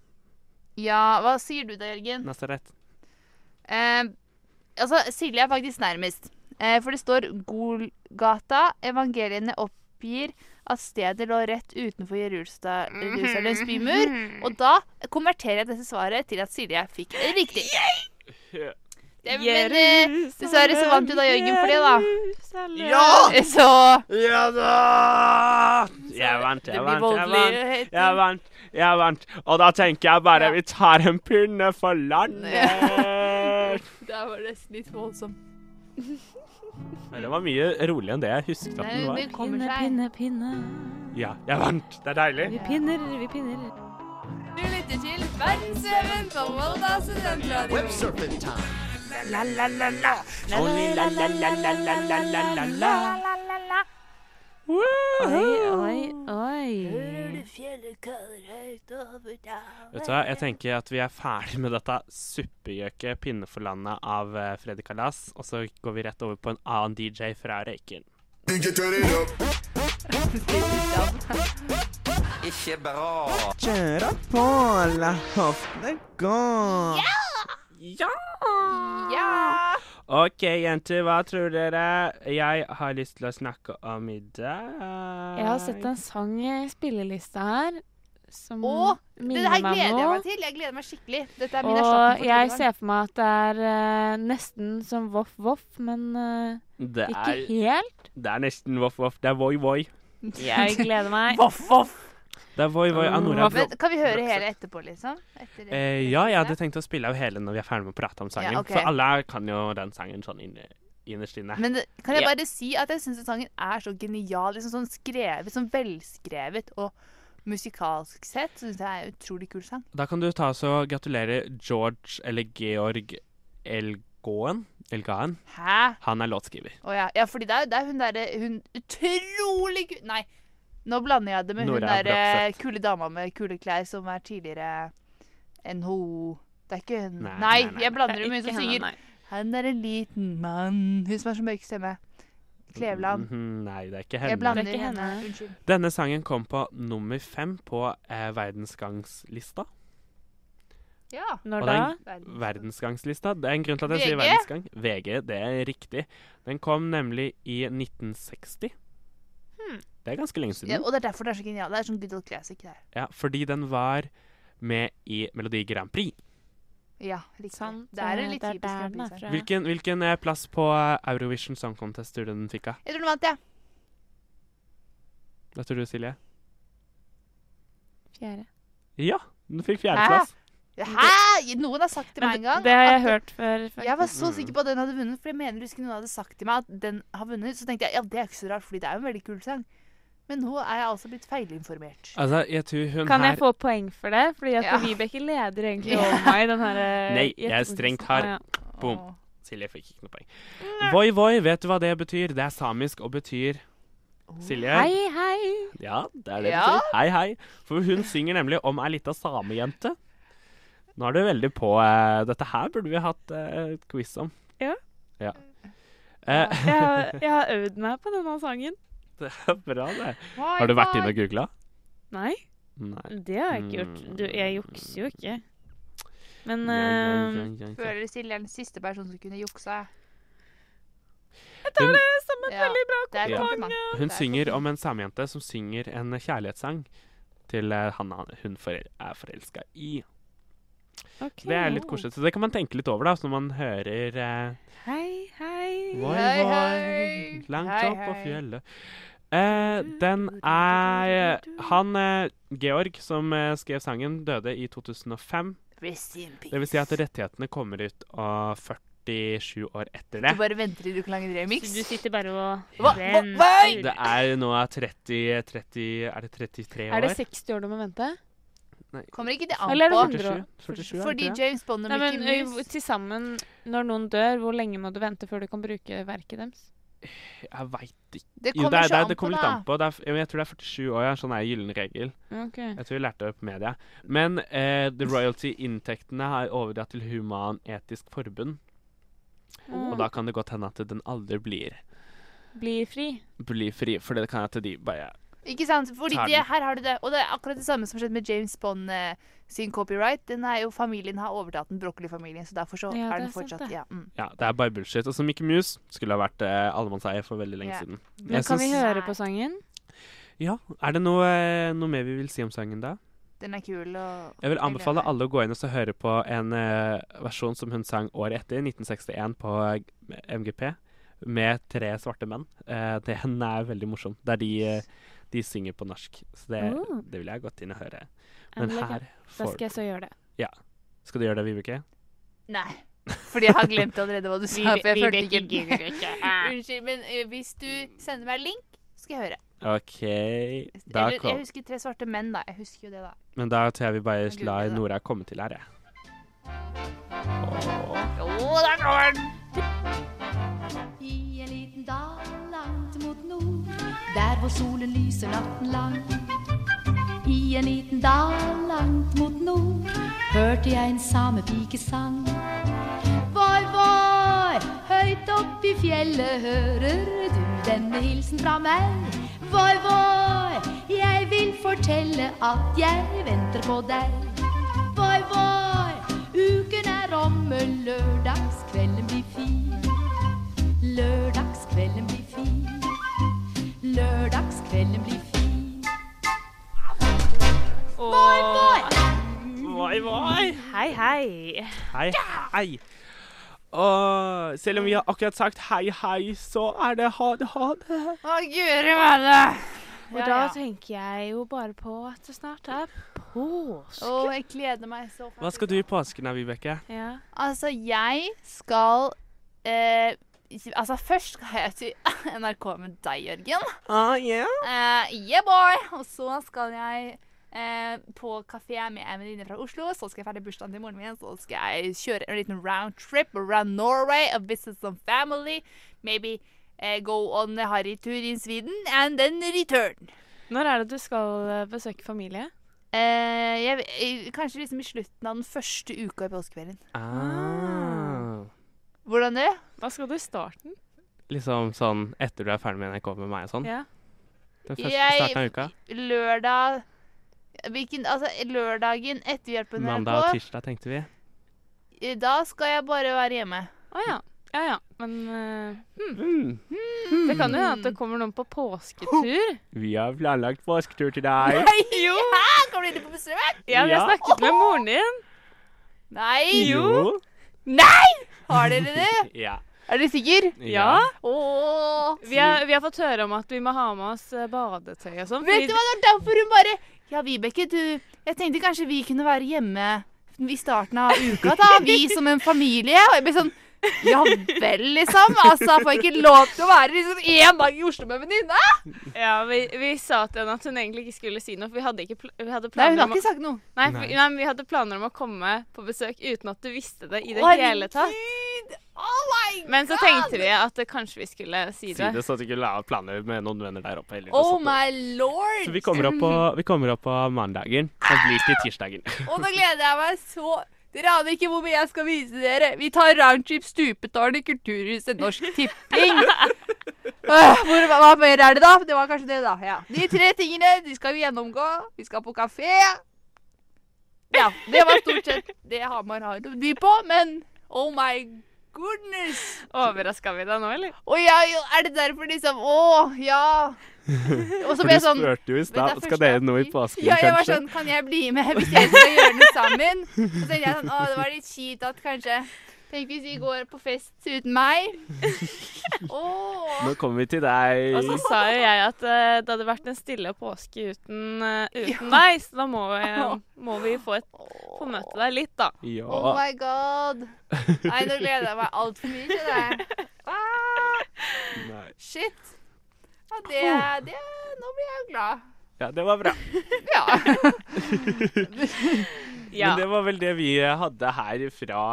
Speaker 5: ja, hva sier du da, Jørgen?
Speaker 4: Nasaret.
Speaker 5: Eh, altså, Silje er faktisk nærmest. Eh, for det står Golgata. Evangeliene oppgir at stedet lå rett utenfor Jerusa- Jerusalems bymur. Og da konverterer jeg dette svaret til at Silje fikk det riktig. Det, men eh, dessverre så vant du da, Jørgen, for det, da.
Speaker 4: Ja!
Speaker 5: [LAUGHS] Så
Speaker 4: Ja da! Jeg vant, jeg
Speaker 5: blir
Speaker 4: vant, jeg
Speaker 5: voldelig,
Speaker 4: vant. Jeg vant, jeg vant. Og da tenker jeg bare vi tar en pinne for landet.
Speaker 5: Der var det nesten litt voldsomt.
Speaker 4: Men det var mye roligere enn det jeg husket at den
Speaker 5: Nei,
Speaker 4: var.
Speaker 5: det kommer seg.
Speaker 3: Pinne, pinne.
Speaker 4: Ja, jeg vant. Det er deilig.
Speaker 3: Vi pinner, vi pinner.
Speaker 5: Du lytter til Verdensveven på Volda studentradio.
Speaker 2: Websurfing time.
Speaker 3: Oi, oi, oi.
Speaker 4: Vet du hva, jeg tenker at vi er ferdig med dette suppegjøket pinne for landet av eh, Freddy Kalas, og så går vi rett over på en annen DJ fra Røyken.
Speaker 13: Ikke bra. Kjøre på, la hoftene gå.
Speaker 4: Ja! OK, jenter, hva tror dere jeg har lyst til å snakke om i dag?
Speaker 3: Jeg har sett en sang i spillelista her som
Speaker 5: Å, Det
Speaker 3: minner
Speaker 5: her
Speaker 3: meg om
Speaker 5: gleder jeg
Speaker 3: noe.
Speaker 5: meg til. Jeg gleder meg skikkelig. Dette er min erstatning
Speaker 3: Og
Speaker 5: for
Speaker 3: jeg
Speaker 5: Trudvang.
Speaker 3: ser for meg at det er eh, nesten som voff voff, men eh,
Speaker 4: Det
Speaker 3: ikke
Speaker 4: er- [LAUGHS]
Speaker 3: helt.
Speaker 4: Det er nesten voff-voff. Det er voi-voi.
Speaker 3: Jeg gleder meg.
Speaker 5: voff voff!
Speaker 4: Det er voi-voi av Nora.
Speaker 5: Men kan vi høre hele etterpå, liksom? Etter det.
Speaker 4: Eh, ja, jeg hadde tenkt å spille av hele når vi er ferdig med å prate om sangen.
Speaker 5: Ja, ok.
Speaker 4: For alle kan jo den sangen sånn inne, innerst inne.
Speaker 5: Men det- kan jeg
Speaker 4: Ja.
Speaker 5: bare si at jeg syns sangen er så genial. Liksom sånn skrevet, sånn velskrevet. Og musikalsk sett syns jeg er en utrolig kul sang.
Speaker 4: Da kan du ta oss og gratulere George eller Georg Elgaen. Elgaen.
Speaker 5: Hæ?
Speaker 4: Han er låtskriver.
Speaker 5: Å ja. ja, fordi det er, det er hun derre Hun utrolig kul Nei, nå blander jeg det med
Speaker 4: Nora
Speaker 5: hun derre
Speaker 4: Bratseth.
Speaker 5: kule dama med kule klær som er tidligere NHO Det er ikke hun. Nei,
Speaker 4: Nei, nei, nei,
Speaker 5: jeg blander
Speaker 3: det
Speaker 5: det
Speaker 3: er
Speaker 5: med hun
Speaker 3: ikke
Speaker 5: som
Speaker 3: henne,
Speaker 5: synger
Speaker 3: nei.
Speaker 5: 'Han er en liten mann' Hun som har så mørk stemme. Kleveland.
Speaker 4: Mhm, nei, det er ikke henne.
Speaker 5: Jeg blander
Speaker 3: Det er ikke
Speaker 5: henne.
Speaker 3: henne.
Speaker 5: Unnskyld.
Speaker 4: Denne sangen kom på nummer fem på eh, verdensgangslista.
Speaker 5: Ja.
Speaker 4: Og
Speaker 3: Når da?
Speaker 4: den- Verdensgangslista. Det er en grunn til at jeg sier
Speaker 5: VG.
Speaker 4: verdensgang. VG, det er riktig. Den kom nemlig i 1960.
Speaker 5: Hmm.
Speaker 4: Det er ganske lenge
Speaker 5: Ja,
Speaker 4: siden.
Speaker 5: og det er derfor det er så genialt. Det er sånn good old classic der.
Speaker 4: Ja, fordi den var med i Melodi Grand Prix.
Speaker 5: Ja, riktig.
Speaker 3: Sant,
Speaker 5: det er en
Speaker 3: eh,
Speaker 5: litt
Speaker 3: det er
Speaker 5: typisk
Speaker 3: der den er
Speaker 5: Grand Prix-sang.
Speaker 3: fra.
Speaker 4: Hvilken, hvilken eh, plass på Eurovision Song Contest tror du den fikk av?
Speaker 5: Jeg tror den vant, jeg.
Speaker 4: Hva tror du, Silje?
Speaker 3: Fjerde.
Speaker 4: Ja, den fikk
Speaker 5: Hæ?
Speaker 4: fjerdeplass.
Speaker 5: Hæ?! Noen har sagt til meg en gang
Speaker 3: Det har
Speaker 5: at-
Speaker 3: jeg hørt før.
Speaker 5: Jeg var så
Speaker 4: Mm.
Speaker 5: sikker på at den hadde vunnet, for jeg mener du husker noen hadde sagt til meg at den har vunnet. Så tenkte jeg ja, det er ikke så rart, fordi det er jo en veldig kul sang. Men nå er jeg altså blitt feilinformert.
Speaker 4: Altså, jeg tror hun
Speaker 3: Kan
Speaker 4: her
Speaker 3: jeg få poeng for det? Fordi at
Speaker 5: Ja.
Speaker 3: Vibeke leder egentlig over meg. i Den her, eh,
Speaker 4: Nei, jeg er
Speaker 3: gjettekonkurransen.
Speaker 4: strengt hard.
Speaker 3: Ah, ja.
Speaker 4: Boom. Silje fikk ikke noe poeng. Voi voi, vet du hva det betyr? Det er samisk og betyr Silje?
Speaker 3: Oh, Hei, hei.
Speaker 4: [LAUGHS] Ja, det er det det
Speaker 5: Ja.
Speaker 4: betyr. Hei, hei. For hun synger nemlig om ei lita samejente. Nå er du veldig på eh, Dette her burde vi hatt eh, et quiz om.
Speaker 3: Ja.
Speaker 4: Ja. Eh, [LAUGHS]
Speaker 3: Jeg har, jeg har øvd meg på denne sangen.
Speaker 4: det er bra, det. Har du vært inne og googla?
Speaker 3: Nei,
Speaker 4: Nei.
Speaker 3: det har jeg ikke gjort. Du, jeg jukser jo ikke. Men eh,
Speaker 4: Mm. Ja, ja, ja, ja.
Speaker 5: Føler Silje er den siste personen som kunne juksa.
Speaker 3: jeg tar
Speaker 4: Hun-
Speaker 3: det som et
Speaker 5: Ja,
Speaker 3: veldig bra
Speaker 5: Det er et
Speaker 4: Ja.
Speaker 5: kompliment.
Speaker 4: Hun
Speaker 5: Det er
Speaker 4: synger om en samejente som synger en kjærlighetssang til eh, han han- hun forel er forelska i.
Speaker 3: Ok.
Speaker 4: Det er litt koselig. Så det kan man tenke litt over da, så når man hører eh,
Speaker 3: Hei, hei.
Speaker 4: Voi,
Speaker 5: Hei,
Speaker 4: voi,
Speaker 5: hei.
Speaker 4: langt
Speaker 5: Hei,
Speaker 4: opp på
Speaker 5: hei.
Speaker 4: fjellet. Eh, den er Han eh, Georg, som eh, skrev sangen, døde i 2005.
Speaker 5: Rest in peace.
Speaker 4: Det vil si at rettighetene kommer ut av 47 år
Speaker 5: Du
Speaker 4: etter det.
Speaker 5: bare venter til du kan lage en remix.
Speaker 3: Så du sitter bare og
Speaker 5: Hva- hva- hva-
Speaker 4: Det er nå 30, 30 Er det 33 år?
Speaker 3: Er det 60 år du må vente?
Speaker 4: Nei,
Speaker 5: Kommer ikke det
Speaker 3: Eller er
Speaker 5: an
Speaker 3: det
Speaker 5: på?
Speaker 3: 100
Speaker 4: 47? 47 er
Speaker 3: år?
Speaker 4: det
Speaker 5: Fordi
Speaker 4: ikke det?
Speaker 5: James Bond og
Speaker 3: Nei, men
Speaker 5: Mickey
Speaker 3: ø, hvor-
Speaker 5: Mouse
Speaker 3: til sammen, når noen dør, hvor lenge må du vente før du kan bruke verket deres?
Speaker 4: Jeg veit ikke.
Speaker 5: Det
Speaker 4: Jo, det,
Speaker 5: kommer
Speaker 4: er, det,
Speaker 5: så
Speaker 4: er-
Speaker 5: an
Speaker 4: det
Speaker 5: på,
Speaker 4: kommer litt
Speaker 5: da.
Speaker 4: an på. Det er, f- ja, men jeg tror det er 47 år, ja. Sånn er gyllen regel.
Speaker 3: Ok.
Speaker 4: Jeg tror jeg lærte det på media. Men eh, the royalty-inntektene har overdratt til Human-Etisk Forbund.
Speaker 3: Mm.
Speaker 4: Og da kan det godt hende at den aldri blir,
Speaker 3: Blir fri.
Speaker 4: blir fri. For det kan hende at de bare
Speaker 5: Ikke sant? Fordi
Speaker 4: Tar den.
Speaker 5: det, her har du det. Og det er akkurat det samme som skjedde med James Bond eh, sin copyright. Den er jo, familien har overtatt den, brokkolifamilien, så derfor så
Speaker 3: Ja, det
Speaker 5: er den
Speaker 3: er sant,
Speaker 5: fortsatt
Speaker 3: det.
Speaker 5: ja, mm.
Speaker 4: Ja, det er bare bullshit. Og så Mickey Mouse skulle ha vært eh, allemannseie for veldig lenge
Speaker 5: Ja.
Speaker 4: siden.
Speaker 3: Men
Speaker 4: Jeg
Speaker 3: kan vi
Speaker 4: syns-
Speaker 3: høre på sangen?
Speaker 4: Ja. Er det noe, eh, noe mer vi vil si om sangen da?
Speaker 5: Den er kul. Og
Speaker 4: Jeg vil
Speaker 5: gleder
Speaker 4: anbefale
Speaker 5: meg.
Speaker 4: alle å gå inn og så høre på en eh, versjon som hun sang året etter, 1961, på eh, MGP, med tre svarte menn. Eh, den er veldig morsom. Der de, eh, de synger på norsk. Så det,
Speaker 3: Oh.
Speaker 4: det vil jeg gått inn og høre.
Speaker 3: Ja,
Speaker 4: Men
Speaker 3: men det kan-
Speaker 4: her
Speaker 3: Da
Speaker 4: får
Speaker 3: skal jeg så gjøre
Speaker 5: [LAUGHS]
Speaker 3: det.
Speaker 4: Skal du gjøre det, Vibeke?
Speaker 5: Nei. [LAUGHS] Fordi jeg har glemt allerede hva du sa. For jeg følte [LAUGHS]
Speaker 3: Vibeke
Speaker 5: ikke
Speaker 3: gidder ikke.
Speaker 5: Unnskyld, men eh, hvis du sender meg link, skal jeg høre.
Speaker 4: OK. Da
Speaker 5: Eller, jeg
Speaker 4: kom.
Speaker 5: husker Tre svarte menn, da. Jeg husker jo det, da.
Speaker 4: Men da tror jeg vi bare
Speaker 5: Jeg
Speaker 4: lar
Speaker 5: googler det.
Speaker 4: Nora komme til her, jeg.
Speaker 5: Jo, der kommer den!
Speaker 6: I en liten dal langt mot nord, der hvor solen lyser natten lang. I en liten dal langt mot nord, hørte jeg en samepikes sang. Voi, voi, høyt opp i fjellet hører du denne hilsen fra meg. Voi, voi, jeg vil fortelle at jeg venter på deg. Voi, voi, uken er omme,
Speaker 5: Mm.
Speaker 13: Hei, hei.
Speaker 4: Hei, hei. Og selv om vi har akkurat sagt hei, hei, så er det ha det, ha det.
Speaker 5: Å, guri malla!
Speaker 3: Og
Speaker 5: Ja,
Speaker 3: da
Speaker 5: ja.
Speaker 3: tenker jeg jo bare på at det snart er påske.
Speaker 5: Å, jeg gleder meg så fælt.
Speaker 4: Hva skal du i påsken da, Vibeke?
Speaker 3: Ja.
Speaker 5: Altså, jeg skal eh, Altså, først skal jeg til [LAUGHS] NRK med deg, Jørgen.
Speaker 4: Ah, yeah?
Speaker 5: Eh, yeah, boy! Og så skal jeg eh, på kafé med en venninne fra Oslo. Så skal jeg feire bursdagen til moren min. Så skal jeg kjøre en liten round trip around Norway and visit some family. Maybe eh, go on a harrytur in Sweden and then return.
Speaker 3: Når er det du skal eh, besøke familie?
Speaker 5: Eh, jeg, eh, kanskje liksom i slutten av den første uka i påskeferien.
Speaker 4: Ah.
Speaker 5: Hvordan det?
Speaker 3: Hva skal du i starten?
Speaker 4: Liksom sånn etter du er ferdig med NRK med meg
Speaker 3: Mm.
Speaker 4: og sånn?
Speaker 5: Ja.
Speaker 4: Den første
Speaker 5: Jeg-
Speaker 4: starten av uka?
Speaker 5: Lørdag hvilken, Altså, lørdagen etter hjelp på NRK.
Speaker 4: Mandag og tirsdag, tenkte vi.
Speaker 5: eh, Da skal jeg bare være hjemme.
Speaker 3: Å ja. Ja ja, men eh, hmm.
Speaker 4: Mm.
Speaker 3: Det kan jo hende
Speaker 5: Mm.
Speaker 3: at det kommer noen på
Speaker 5: [LAUGHS]
Speaker 3: påsketur.
Speaker 4: Vi har planlagt påsketur til deg.
Speaker 5: jo! Kommer dere på besøk?
Speaker 3: Ja, men jeg
Speaker 4: Ja.
Speaker 3: snakket med moren din.
Speaker 5: Nei!
Speaker 4: Jo.
Speaker 5: Nei! Har dere det?
Speaker 4: Ja.
Speaker 5: Er du sikker?
Speaker 4: Ja.
Speaker 5: Åh.
Speaker 3: Vi har, vi har fått høre om at vi må ha med oss eh, badetøy og sånn.
Speaker 5: Mm. Vet du hva, det er derfor hun bare Ja, Vibeke, du Jeg tenkte kanskje vi kunne være hjemme i starten av uka, da. Vi som en familie. Og jeg ble sånn Ja vel, liksom. Altså, får jeg ikke lov til å være liksom én dag i Oslo med en venninne?
Speaker 3: Ja, vi, vi sa til henne at hun egentlig ikke skulle si noe, for vi hadde, ikke pl vi hadde
Speaker 5: Nei, hun
Speaker 3: planer
Speaker 5: har
Speaker 3: om
Speaker 5: ikke sagt noe.
Speaker 3: Nei, for,
Speaker 5: Nei.
Speaker 3: nei, men vi hadde planer om å komme på besøk uten at du visste det i det
Speaker 5: Å,
Speaker 3: hele tatt. Men så tenkte vi at eh, kanskje vi skulle si
Speaker 4: Si
Speaker 3: det.
Speaker 4: det så at du ikke la opp planer med noen venner der oppe. heller,
Speaker 5: Oh
Speaker 4: og sånt.
Speaker 5: my lord!
Speaker 4: Så vi kommer, opp på, vi kommer opp på mandagen. Det blir til tirsdagen.
Speaker 5: Og nå gleder jeg meg så Dere aner ikke hvor mye jeg skal vise dere. Vi tar roundtrip Stupetårnet Kulturhuset Norsk
Speaker 4: [LAUGHS]
Speaker 5: Tipping. Øh, hvor, hva, hva mer er det, da? Det var kanskje det, da. Ja. De tre tingene de skal vi gjennomgå. Vi skal på kafé. Ja, det var stort sett det Hamar har å by på, men oh my goodness!
Speaker 3: Overraska vi deg nå, eller?
Speaker 5: Å ja, jo, er det derfor liksom Å,
Speaker 4: [LAUGHS]
Speaker 5: ja. Og så ble jeg sånn
Speaker 4: For du spurte jo i
Speaker 5: Vet
Speaker 4: stad
Speaker 5: du,
Speaker 4: skal
Speaker 5: første
Speaker 4: dere noe i påsken,
Speaker 5: ja, jeg var
Speaker 4: kanskje?
Speaker 5: sånn, kan jeg bli med hvis jeg skal gjøre noe sammen? Og så tenkte jeg sånn, å, det var litt kjipt at kanskje Tenk hvis vi går på fest uten
Speaker 4: [LAUGHS]
Speaker 5: meg.
Speaker 4: Nå kommer vi til deg.
Speaker 3: Og så sa jo jeg at eh, det hadde vært en stille påske uten, eh, uten deg, så da må vi, eh, må vi få, et, få møte deg litt, da.
Speaker 4: Ja.
Speaker 5: Oh my god. Nei, nå gleder jeg meg altfor mye, kjenner jeg. Ah,
Speaker 4: Nei.
Speaker 5: shit. Ja, det, det Nå blir jeg jo glad.
Speaker 4: Ja, det var bra. [LAUGHS]
Speaker 5: Ja.
Speaker 4: Men det var vel det vi hadde her fra,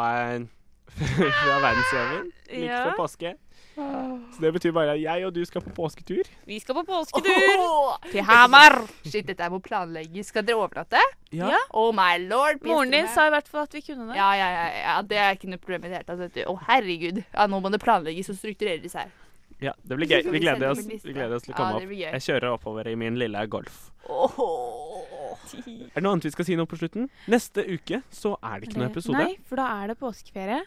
Speaker 4: [LAUGHS] fra verdensrevyen. Like før påske. Så det betyr bare at jeg og du skal på påsketur.
Speaker 3: Vi skal på
Speaker 5: [LAUGHS]
Speaker 3: påsketur
Speaker 5: Åh.
Speaker 3: til Hamar.
Speaker 5: Shit, dette må planlegges. Skal dere overnatte?
Speaker 4: Ja.
Speaker 5: Oh my lord.
Speaker 3: Moren din sa i hvert fall at vi kunne det.
Speaker 5: Ja, ja, ja, ja. Det er ikke noe problem i det hele tatt. vet du. Å, herregud. Ja, nå må det planlegges og struktureres her.
Speaker 4: Ja, det blir gøy.
Speaker 5: Så får
Speaker 4: Vi
Speaker 5: vi
Speaker 4: gleder
Speaker 5: sende
Speaker 4: oss,
Speaker 5: dem en liste.
Speaker 4: vi gleder oss til å
Speaker 5: Ja,
Speaker 4: komme
Speaker 5: det
Speaker 4: opp.
Speaker 5: blir gøy.
Speaker 4: Jeg kjører oppover i min lille Golf.
Speaker 5: Åh.
Speaker 4: Er det noe annet vi skal si nå på slutten? Neste uke så er det ikke noen
Speaker 3: Det-
Speaker 4: episode.
Speaker 3: Nei, for da er det påskeferie.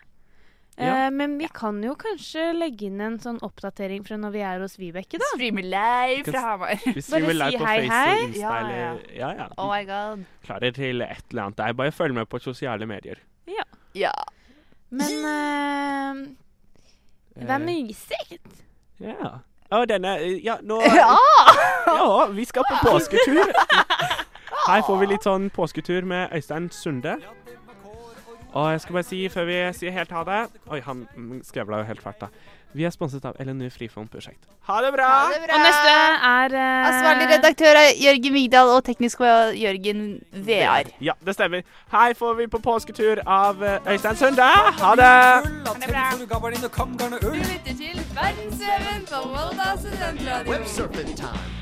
Speaker 4: Ja.
Speaker 3: Eh, men vi kan jo kanskje legge inn en sånn oppdatering fra når vi er hos Vibeke, da.
Speaker 5: Streame live
Speaker 4: Vi kan- Vi streamer
Speaker 3: Bare
Speaker 4: live
Speaker 3: si
Speaker 4: på
Speaker 3: hei,
Speaker 4: Face og
Speaker 3: hei.
Speaker 4: Insta
Speaker 5: Ja, ja, ja.
Speaker 4: eller Ja, ja.
Speaker 5: [LAUGHS] Oh my god.
Speaker 4: Klarer til et eller annet der. Bare følg med på sosiale medier.
Speaker 3: Ja.
Speaker 5: Ja.
Speaker 3: Men eh, det er mysigt.
Speaker 4: Ja. Å, denne Ja, nå
Speaker 3: Ja!
Speaker 4: Ja, vi skal på [LAUGHS] påsketur. Her får vi litt sånn påsketur med Øystein Sunde. Og jeg skal bare si før vi sier helt ha det Oi, han mm, skrevla jo helt fælt, da. Vi er sponset av LNU Frifond Prosjekt. Ha det bra!
Speaker 5: Ha det bra. Og neste
Speaker 3: er eh,
Speaker 5: Ansvarlig redaktør Altså, er Jørgen Vigdal og teknisk var Jørgen VR.
Speaker 4: Ja, det stemmer. Her får vi på påsketur av eh, Øystein Sunde. Ha det!
Speaker 5: Du lytter til Verdensrevyen på Volda Studentradioen.
Speaker 2: Web surfing time.